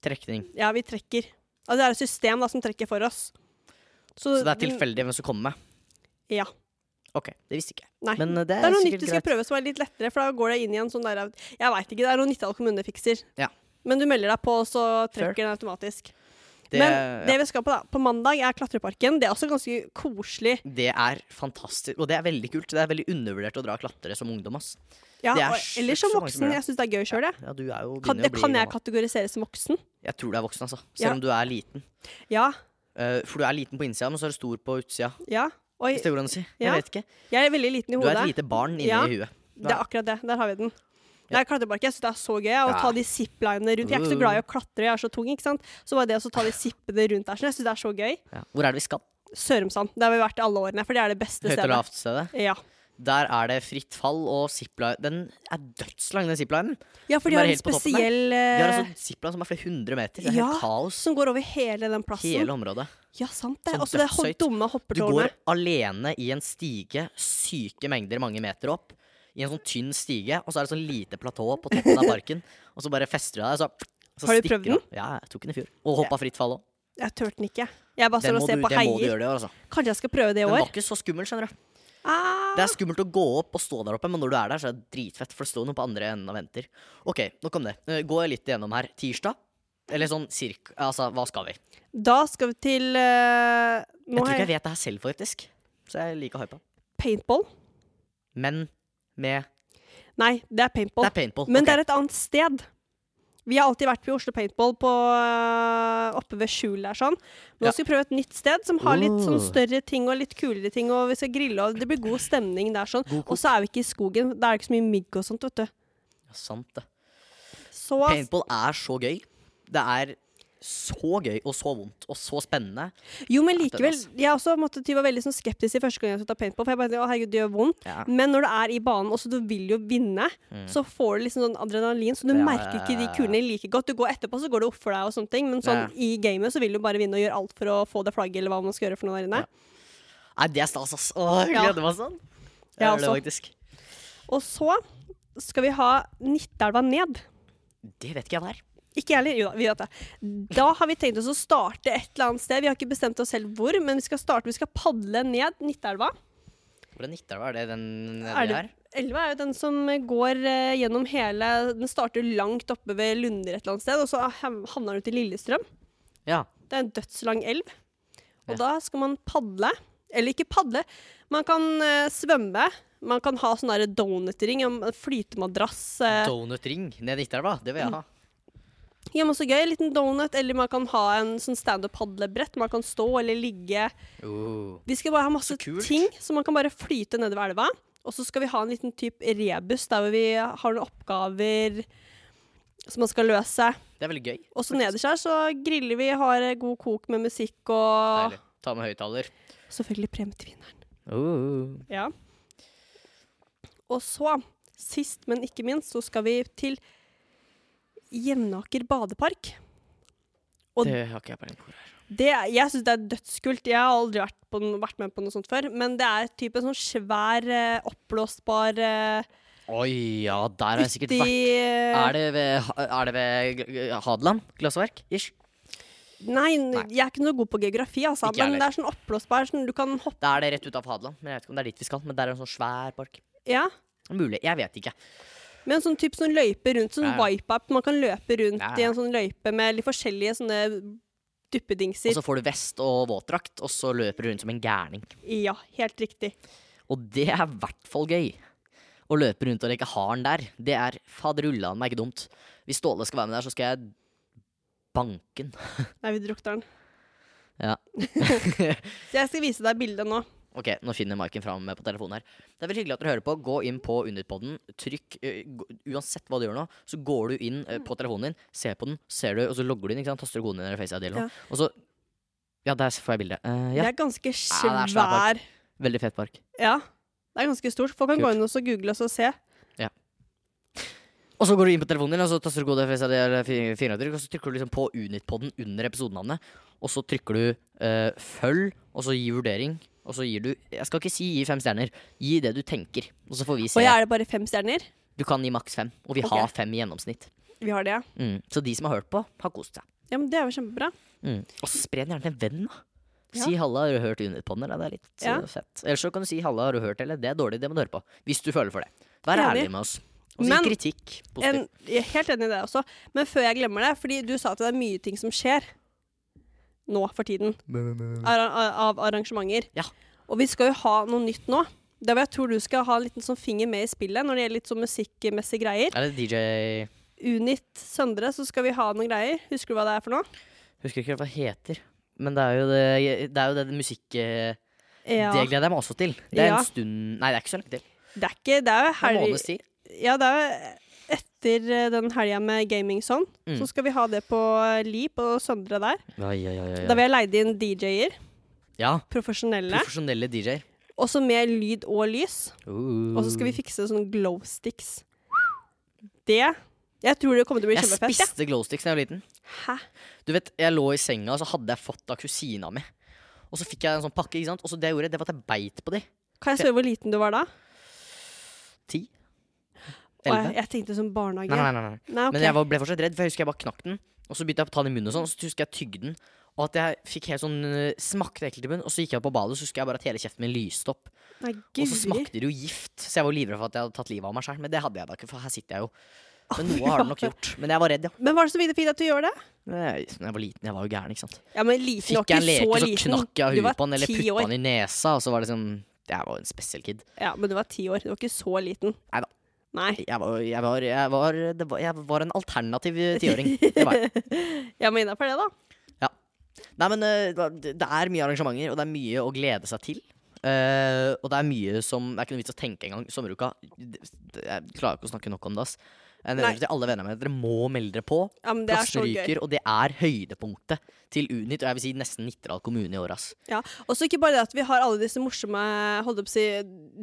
Trekning.
Ja, vi trekker. Og det er et system da, som trekker for oss.
Så det er tilfeldig hvem som kommer med.
Ja.
Ok, det visste ikke jeg.
Mm, Nei.
Men ø, det
det
er,
er noe nytt
sikkert
du skal
greit.
prøve som er litt lettere, for da går det inn i en sånn der Jeg veit ikke, det er noe Nittdal kommune fikser.
Ja.
Men du melder deg på, og så trekker
Fair.
den automatisk.
Det,
Men det
ja,
vi skal på da, på mandag, er Klatreparken. Det er også ganske koselig.
det er fantastisk, og det er veldig kult. Det er veldig undervurdert å dra klatre som ungdom, ass.
Ja,
Det er
og,
sjukt
eller som
så mange som gjør
voksen.
det.
Jeg syns det er gøy sjøl, jeg.
Ja, du er jo
Kan,
begynner
det
å bli
kan jeg
gammel.
kategoriseres som voksen?
Jeg tror du er voksen, altså. Selv
Ja.
om du er liten.
Ja.
Eh, for du er liten på innsida, men så er du stor på utsida.
ja. Oi,
Hvis det går an å si. Jeg
Ja.
vet ikke.
jeg er veldig liten i
Du
hodet.
er et lite barn inni
Ja.
huet.
Det er akkurat det. Der har vi den. Nei, klatreparken. Jeg syns det er så gøy å
Ja. Mm.
ta de ziplinene rundt. Jeg er ikke så glad i å klatre, jeg er så tung, ikke sant. Så bare det å så ta de zippene rundt der, sånn, jeg syns det er så gøy.
Ja. Hvor er det vi skal?
Sørumsand. Der har vi vært i alle årene, for det er det beste
Høyt- og
stedet.
lavtstedet?
Ja.
Der er det fritt fall og zipline. Den er dødslang, den ziplinen.
ja, for de
Den
har
er
en
helt på toppen der.
spesiell
Vi har
eh,
altså en zipline som er flere hundre meter. Det er
Ja.
helt kaos.
som går over hele den plassen.
Hele området.
Ja, sant det.
Sånn
Og så det ho-
dødshøyt.
dumme
Du går
hoppetårnet.
alene i en stige, syke mengder mange meter opp. I en sånn tynn stige, og så er det sånn lite platå på toppen av parken. Og så bare fester du deg, så, så
Har du
stikker
prøvd den?
av. Ja, jeg tok den i fjor. Og hoppa fritt fall òg.
Jeg turte den ikke. Jeg bare
Den,
står og
må
ser
du-
på
den må du
heier.
gjøre det i år, altså.
Kanskje jeg skal prøve det i
Den var
år?
ikke så skummel, skjønner du.
Ah.
Det er skummelt å gå opp og stå der oppe, men når du er der, så er det dritfett, for det står noen på andre enden og venter. Ok, nok om det. Eh, Går jeg litt igjennom her. Tirsdag? Eller sånn cirka Altså, hva skal vi?
Da skal vi til eh, Nå
Jeg tror
har
ikke jeg
jeg
vet det her selv, faktisk. Så jeg liker hypa.
paintball.
Men med
Nei, det er
Det
paintball.
er paintball.
Men
Ok.
det er et annet sted. Vi har alltid vært på Oslo Paintball på, eh, oppe ved Skjul der sånn. Nå
Ja.
skal vi prøve et nytt sted som har litt sånn
Oh.
større ting og litt kulere ting, og vi skal grille, og det blir god stemning der sånn.
God kok.
Og så er vi ikke i skogen. Det er ikke så mye mygg og sånt, vet du.
Ja, Sant, det.
Så ass,
Paintball er så gøy. Det er så gøy og så vondt og så spennende.
Jo, men
Ja, den,
likevel.
altså.
Jeg også måtte, ty- var veldig sånn, skeptisk i første gang jeg skulle ta paintball. For jeg bare tenkte, å herregud, det gjør vondt.
Ja. Mm.
Men når du er i banen også, du vil jo vinne, så får du liksom sånn adrenalin. Så du
Ja,
merker ikke de
ja, ja, ja.
kulene like godt. Du går etterpå, så går det opp for deg og sånne ting. Men sånn i gamet så vil du bare vinne og gjøre alt for å få det flagget eller hva man skal gjøre for noe der inne.
Nei, det er stas, ass. Åh, jeg
Ja.
gleder meg sånn. Jeg
Ja,
gjør det
også.
faktisk.
Og så skal vi ha Nittelva ned.
Det vet ikke jeg hva er.
Ikke jeg heller. Jo da, vi vet det. Da har vi tenkt oss å starte et eller annet sted. Vi har ikke bestemt oss selv hvor, men vi skal starte, vi skal padle ned Nittelva.
Hvordan Nittelva er det den
Er
nedi
det,
her?
elva er jo den som går eh, gjennom hele Den starter langt oppe ved Lunder et eller annet sted, og så ha- havner den ut i Lillestrøm.
Ja.
Det er en dødslang elv. Og
Ja.
da skal man padle. Eller ikke padle. Man kan eh, svømme. Man kan ha sånn der donutring, en flytemadrass. eh, Mm.
Donutring ned Nittelva, det vil jeg ha.
Ja, men så gøy. En liten donut, eller man kan ha en sånn standup-padlebrett. Man kan stå eller ligge.
Oh.
Vi skal bare ha masse
Så kult.
ting, så man kan bare flyte nedover elva. Og så skal vi ha en liten type rebus der hvor vi har noen oppgaver som man skal løse.
Det er veldig gøy.
Og så nederst her så griller vi, har god kok med musikk og
Deilig. Ta med høyttaler.
selvfølgelig premie til vinneren.
Oh.
Ja. Og så, sist men ikke minst, så skal vi til Jevnaker badepark. Og-
Det har ikke jeg peiling på. hvor er.
Det, er- jeg syns det er dødskult. Jeg har aldri vært, på, no- vært med på noe sånt før. Men det er type en sånn svær, eh, oppblåsbar eh,
Oi, ja, der har jeg
uti
sikkert vært. Er det ved, er det ved G- Hadeland glassverk? Ish.
Nei,
Nei.
jeg er ikke noe god på geografi, altså.
Ikke jeg
Men det er sånn oppblåsbar sånn, Du kan hoppe
Da er det rett ut av Hadeland. Men jeg vet ikke om det er dit vi skal. Men der er en sånn svær park.
Ja.
Mulig. Jeg vet ikke.
Med en sånn type sånn løype rundt. Sånn
Ja, ja.
wipe-up. Man kan løpe rundt
Ja, ja.
i en sånn løype med litt forskjellige sånne
Og
duppedingser.
så får du vest og våtdrakt, og så løper du rundt som en gærning.
Ja, helt riktig.
Og det er i hvert fall gøy. Å løpe rundt og leke haren der, det er faderullan meg ikke dumt. Hvis Ståle skal være med der, så skal jeg banke den.
Nei, vi drukner den.
Ja.
Så jeg skal vise deg bildet nå.
Ok, nå finner Maiken fram på telefonen her. Det er veldig hyggelig at dere hører på. Gå inn på Underpodden. Trykk eh, gå- Uansett hva du gjør nå, så går du inn eh, på telefonen din, ser på den, ser du, og så logger du inn. ikke sant? Taster du koden din eller FaceID eller noe. Og så Ja, der får jeg bildet.
Det
Eh, ja,
er ganske
det er svær park.
svær.
veldig fet park.
Ja. Det er ganske stort. Folk kan gå
Kult.
inn og så google og så se.
Og så går du inn på telefonen din, og så taster du kode FSD eller fi- finavtrykk, og så trykker du liksom på Unitpodden under episodenavnet, og så trykker du eh, følg, og så gi vurdering, og så gir du Jeg skal ikke si gi fem stjerner. Gi det du tenker, og så får vi
Og
se.
jeg er det bare fem stjerner.
Du kan gi maks fem, og vi
Ok.
har fem i gjennomsnitt.
Vi har det, ja.
Mm. Så de som har hørt på, har kost seg.
Ja, men Det er jo kjempebra.
Mm. Og så spre den gjerne til en venn, da.
Ja.
Si 'halla, har du hørt Unitpodden', eller? Det er litt
Ja.
eh, fett. Eller så kan du si 'halla, har du hørt', eller? Det er dårlig, det må du høre på. Hvis du føler for det. Vær
Enig.
ærlig med oss. Og si
Men-
kritikk.
En,
Positivt.
jeg er helt enig i det også. Men før jeg glemmer det, fordi du sa at det er mye ting som skjer nå for tiden. Ar av arrangementer.
Ja.
Og vi skal jo ha noe nytt nå. Det er hvor jeg tror du skal ha en liten sånn finger med i spillet når det gjelder litt sånn musikkmessige greier.
Er det DJ
Unit Søndre, så skal vi ha noen greier. Husker du hva det er for noe?
Husker ikke hva det heter. Men det er jo det, det, er jo det musikk... eh,
Ja.
Det gleder jeg meg også til. Det er
Ja.
en stund Nei, det er ikke så lenge til.
Det er ikke Det er jo
En
helg...
måneds tid.
Ja, det er jo etter eh, den helga med Gaming Zone.
Mm.
Så skal vi ha det på Leap og Søndre der.
Oi, oi, oi, oi.
Da vi har leid inn DJ-er.
Ja.
Profesjonelle.
Profesjonelle DJ-er.
Også med lyd og lys.
Uh.
Og så skal vi fikse sånne glow sticks. Det Jeg tror det kommer til å bli
Jeg
kjempefett. Ja.
spiste glowsticks da jeg var liten.
Hæ?
Du vet, Jeg lå i senga, og så hadde jeg fått av kusina mi. Og så fikk jeg en sånn pakke, ikke sant? og så det jeg gjorde, det var at jeg beit på de.
Kan jeg spørre hvor liten du var da?
Ti?
Å,
Elleve?
jeg, jeg tenkte som barnehage.
Nei, nei, nei. nei.
Nei, ok.
Men jeg var, ble fortsatt redd, for jeg husker jeg bare knakk den. Og så begynte jeg å ta den i munnen, og sånn, og så husker jeg tygde den. Og at jeg fikk helt sånn øh, smakte ekkelt i munnen. Og så gikk jeg på badet, og så husker jeg bare at hele kjeften min lyste opp.
Nei,
Og så
guri.
smakte det jo gift, så jeg var livredd for at jeg hadde tatt livet av meg sjøl. Men det hadde jeg da ikke, for her sitter jeg jo. Men noe har det nok gjort. Men jeg var redd, ja.
Men var det så vidt fint at du gjorde det?
Jeg, jeg var liten, jeg var jo gæren, ikke sant.
Ja, men liten var
Fikk jeg en
ikke
leke,
så
så
liten.
knakk jeg
Du var
huet på den, eller
ti
putta
år.
den i nesa, og så var det sånn Jeg var jo en spesiell kid.
Ja, men du var ti år. Du var ikke så liten.
Nei da.
Nei.
Jeg var, jeg var, jeg var, det var, jeg var en alternativ eh, tiåring. Det var jeg.
Ja, men innafor det, da.
Nei, men eh, hva- det det er mye arrangementer, og det er mye å glede seg til. Eh, og det er mye som Det er ikke noe vits å tenke engang. Sommeruka d- d- Jeg klarer ikke å snakke nok om det, ass. Jeg
Nei.
nevner til alle vennene mine at dere må melde dere på.
Ja, men det er
Plassene
så gøy.
ryker, og det er høydepunktet til Unit. Og jeg vil si nesten Nittedal kommune i år, ass.
Ja. Og så ikke bare det at vi har alle disse morsomme holdt jeg på å si,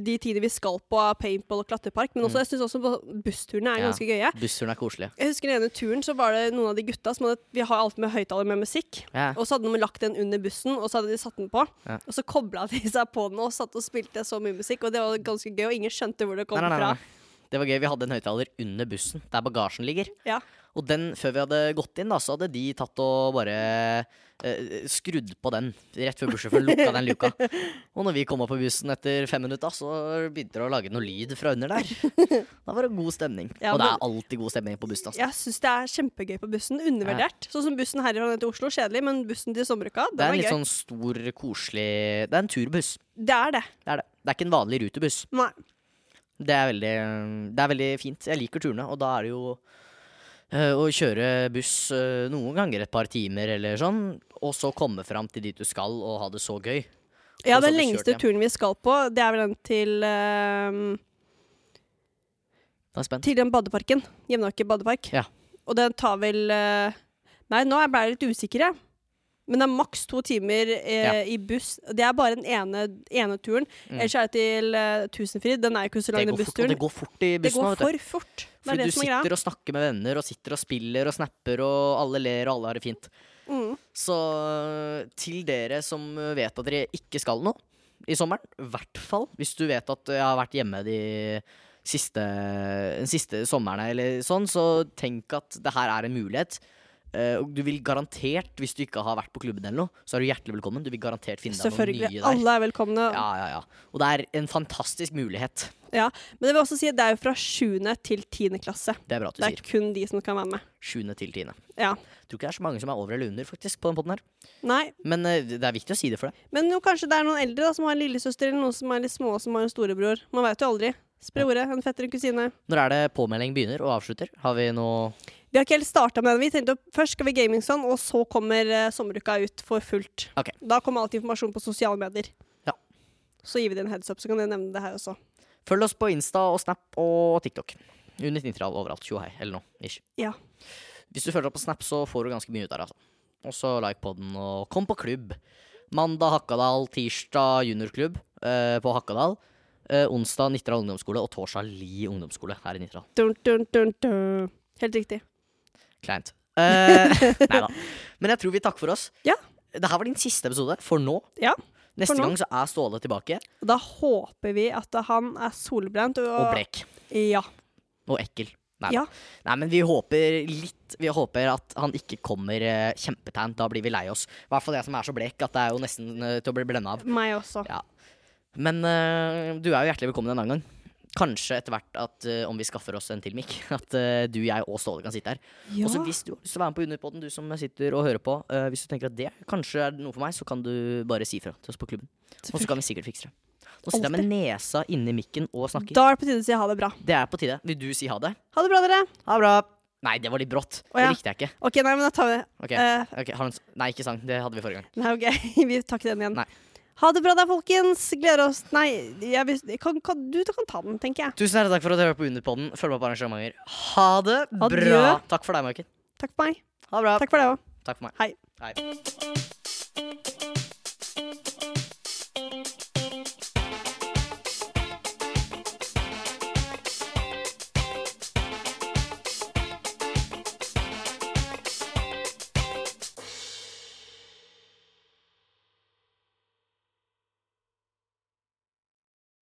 de tidene vi skal på paintball og klatrepark, men også, jeg syns også bussturene er
Mm. Ja.
ganske gøye.
Bussturen er koselig.
Jeg husker den ene turen så var det noen av de gutta som hadde Vi har alltid med høyttaler med musikk.
Ja.
Og så hadde de lagt den under bussen, og så hadde de satt den på.
Ja.
Og så kobla de seg på den og satt og spilte så mye musikk, og det var ganske gøy, og ingen skjønte hvor det kom
Nei, nei, nei,
fra.
nei. Det var gøy. Vi hadde en høyttaler under bussen, der bagasjen ligger.
Ja.
Og den, før vi hadde gått inn, da, så hadde de tatt og bare eh, skrudd på den rett før bussjåføren lukka den luka. Og når vi kom opp på bussen etter fem minutter, så begynte det å lage noe lyd fra under der. Da var det god stemning.
Ja,
og det er alltid god stemning på bussen. Altså.
Jeg syns det er kjempegøy på bussen. Undervurdert. Sånn som bussen herfra ned til Oslo, kjedelig, men bussen til Sommeruka,
Det
den
er en
var gøy.
litt sånn stor, koselig Det er en turbuss.
Det er det.
Det er det. Det er ikke en vanlig rutebuss.
Nei.
Det er veldig, det er veldig fint. Jeg liker turene, og da er det jo eh, å kjøre buss eh, noen ganger et par timer eller sånn, og så komme fram til dit du skal og ha det så gøy.
Ja,
Og så
den
blir
lengste
kjørt hjem.
turen vi skal på, det er vel den til ehm,
Da er jeg spent.
Til den badeparken. Jevnaker badepark.
Ja.
Og den tar vel eh, Nei, nå ble jeg litt usikker, jeg. Men det er maks to timer eh, i buss. Det er bare den ene, ene turen.
Mm.
Ellers er det til eh, Tusenfryd. Den er jo ikke så
Det
lang, den
går fort, og
bussturen.
det går fort i
Det
bussen
går
òg, vet du.
for fort. Det
For
er det
du
som er greia.
sitter og snakker med venner, og sitter og spiller og snapper, og alle ler, og alle har det fint.
Mm.
Så til dere som vet at dere ikke skal noe i sommeren, i hvert fall hvis du vet at jeg har vært hjemme de siste, den siste sommeren eller sånn, så tenk at det her er en mulighet. Eh, og du vil garantert, hvis du ikke har vært på klubben eller noe, så er du hjertelig velkommen. Du vil garantert finne deg noen nye
Selvfølgelig.
der.
Alle er velkomne.
Ja, ja, ja. Og det er en fantastisk mulighet.
Men det vil også si at det er jo fra 7. til 10. klasse.
Det er bra at du
Det er
sier.
kun de som kan være med.
Sjuende til tiende.
Ja.
Tror ikke det er så mange som er over eller under, faktisk, på den potten her.
Nei,
Men eh, det er viktig å si det for deg.
Men jo, kanskje det er noen eldre da, som har en lillesøster, eller noen som er litt små som har en storebror. Man vet jo aldri. Spre ordet. En fetter, en kusine.
Når er det påmelding begynner og avslutter? Har vi noe
Vi har ikke helt starta med den. Vi tenkte å- Først skal vi gamingson, og så kommer eh, sommeruka ut for fullt.
Ok.
Da kommer alt informasjon på sosiale medier.
Ja.
Så gir vi det en heads up, så kan jeg nevne det her også.
Følg oss på Insta og Snap og TikTok. Unit Nitral overalt. Tjo hei, eller noe. Ish.
Ja.
Hvis du følger opp på Snap, så får du ganske mye ut der, altså. Og så like på den, og kom på klubb. Mandag Hakadal, tirsdag juniorklubb eh, på Hakadal. Eh, onsdag Nitral ungdomsskole og torsdag Li ungdomsskole her i Nitral.
Dun, dun, dun, dun. Helt riktig.
Kleint. Eh, nei da. Men jeg tror vi takker for oss.
Ja.
Det her var din siste episode for nå.
Ja.
Neste
nå.
gang så er Ståle tilbake.
Og da håper vi at han er solbrent og,
Og Blek.
Ja.
Og ekkel. Nei, da.
Ja.
Nei, men vi håper litt Vi håper at han ikke kommer eh, kjempetan. Da blir vi lei oss. I hvert fall jeg som er så blek at det er jo nesten eh, til å bli blenda av.
Meg også.
Ja. Men eh, du er jo hjertelig velkommen en annen gang. Kanskje etter hvert at eh, om vi skaffer oss en til mikk, at eh, du, jeg og Ståle kan sitte her.
Ja.
Og så hvis du har lyst til å være med på Underpodden, du som sitter og hører på, eh, hvis du tenker at det kanskje er noe for meg, så kan du bare si fra til oss på klubben. Og så kan vi sikkert fikse det. Nå sitter jeg med nesa inni mikken og snakker.
Da er det på tide å si ha det bra.
Det er på tide. Vil du si ha det?
Ha det bra, dere.
Ha det bra. Nei, det var litt brått.
ja.
Det likte jeg ikke.
OK, nei, men da tar vi det.
Ok,
Eh,
ok, har du en s- Nei, ikke sang. Det hadde vi forrige gang.
Nei, ok. Vi tar ikke den igjen.
Nei.
Ha det bra da, folkens. Gleder oss Nei, jeg, vil- kan, kan, du kan ta den, tenker jeg.
Tusen hjertelig takk for at du hørte på Underpodden. Følg med på arrangementer. Ha det bra.
Adjø.
Takk for deg, Maiken.
Takk for meg.
Ha det bra.
Takk for deg òg.
takk for meg.
Hei.
Hei.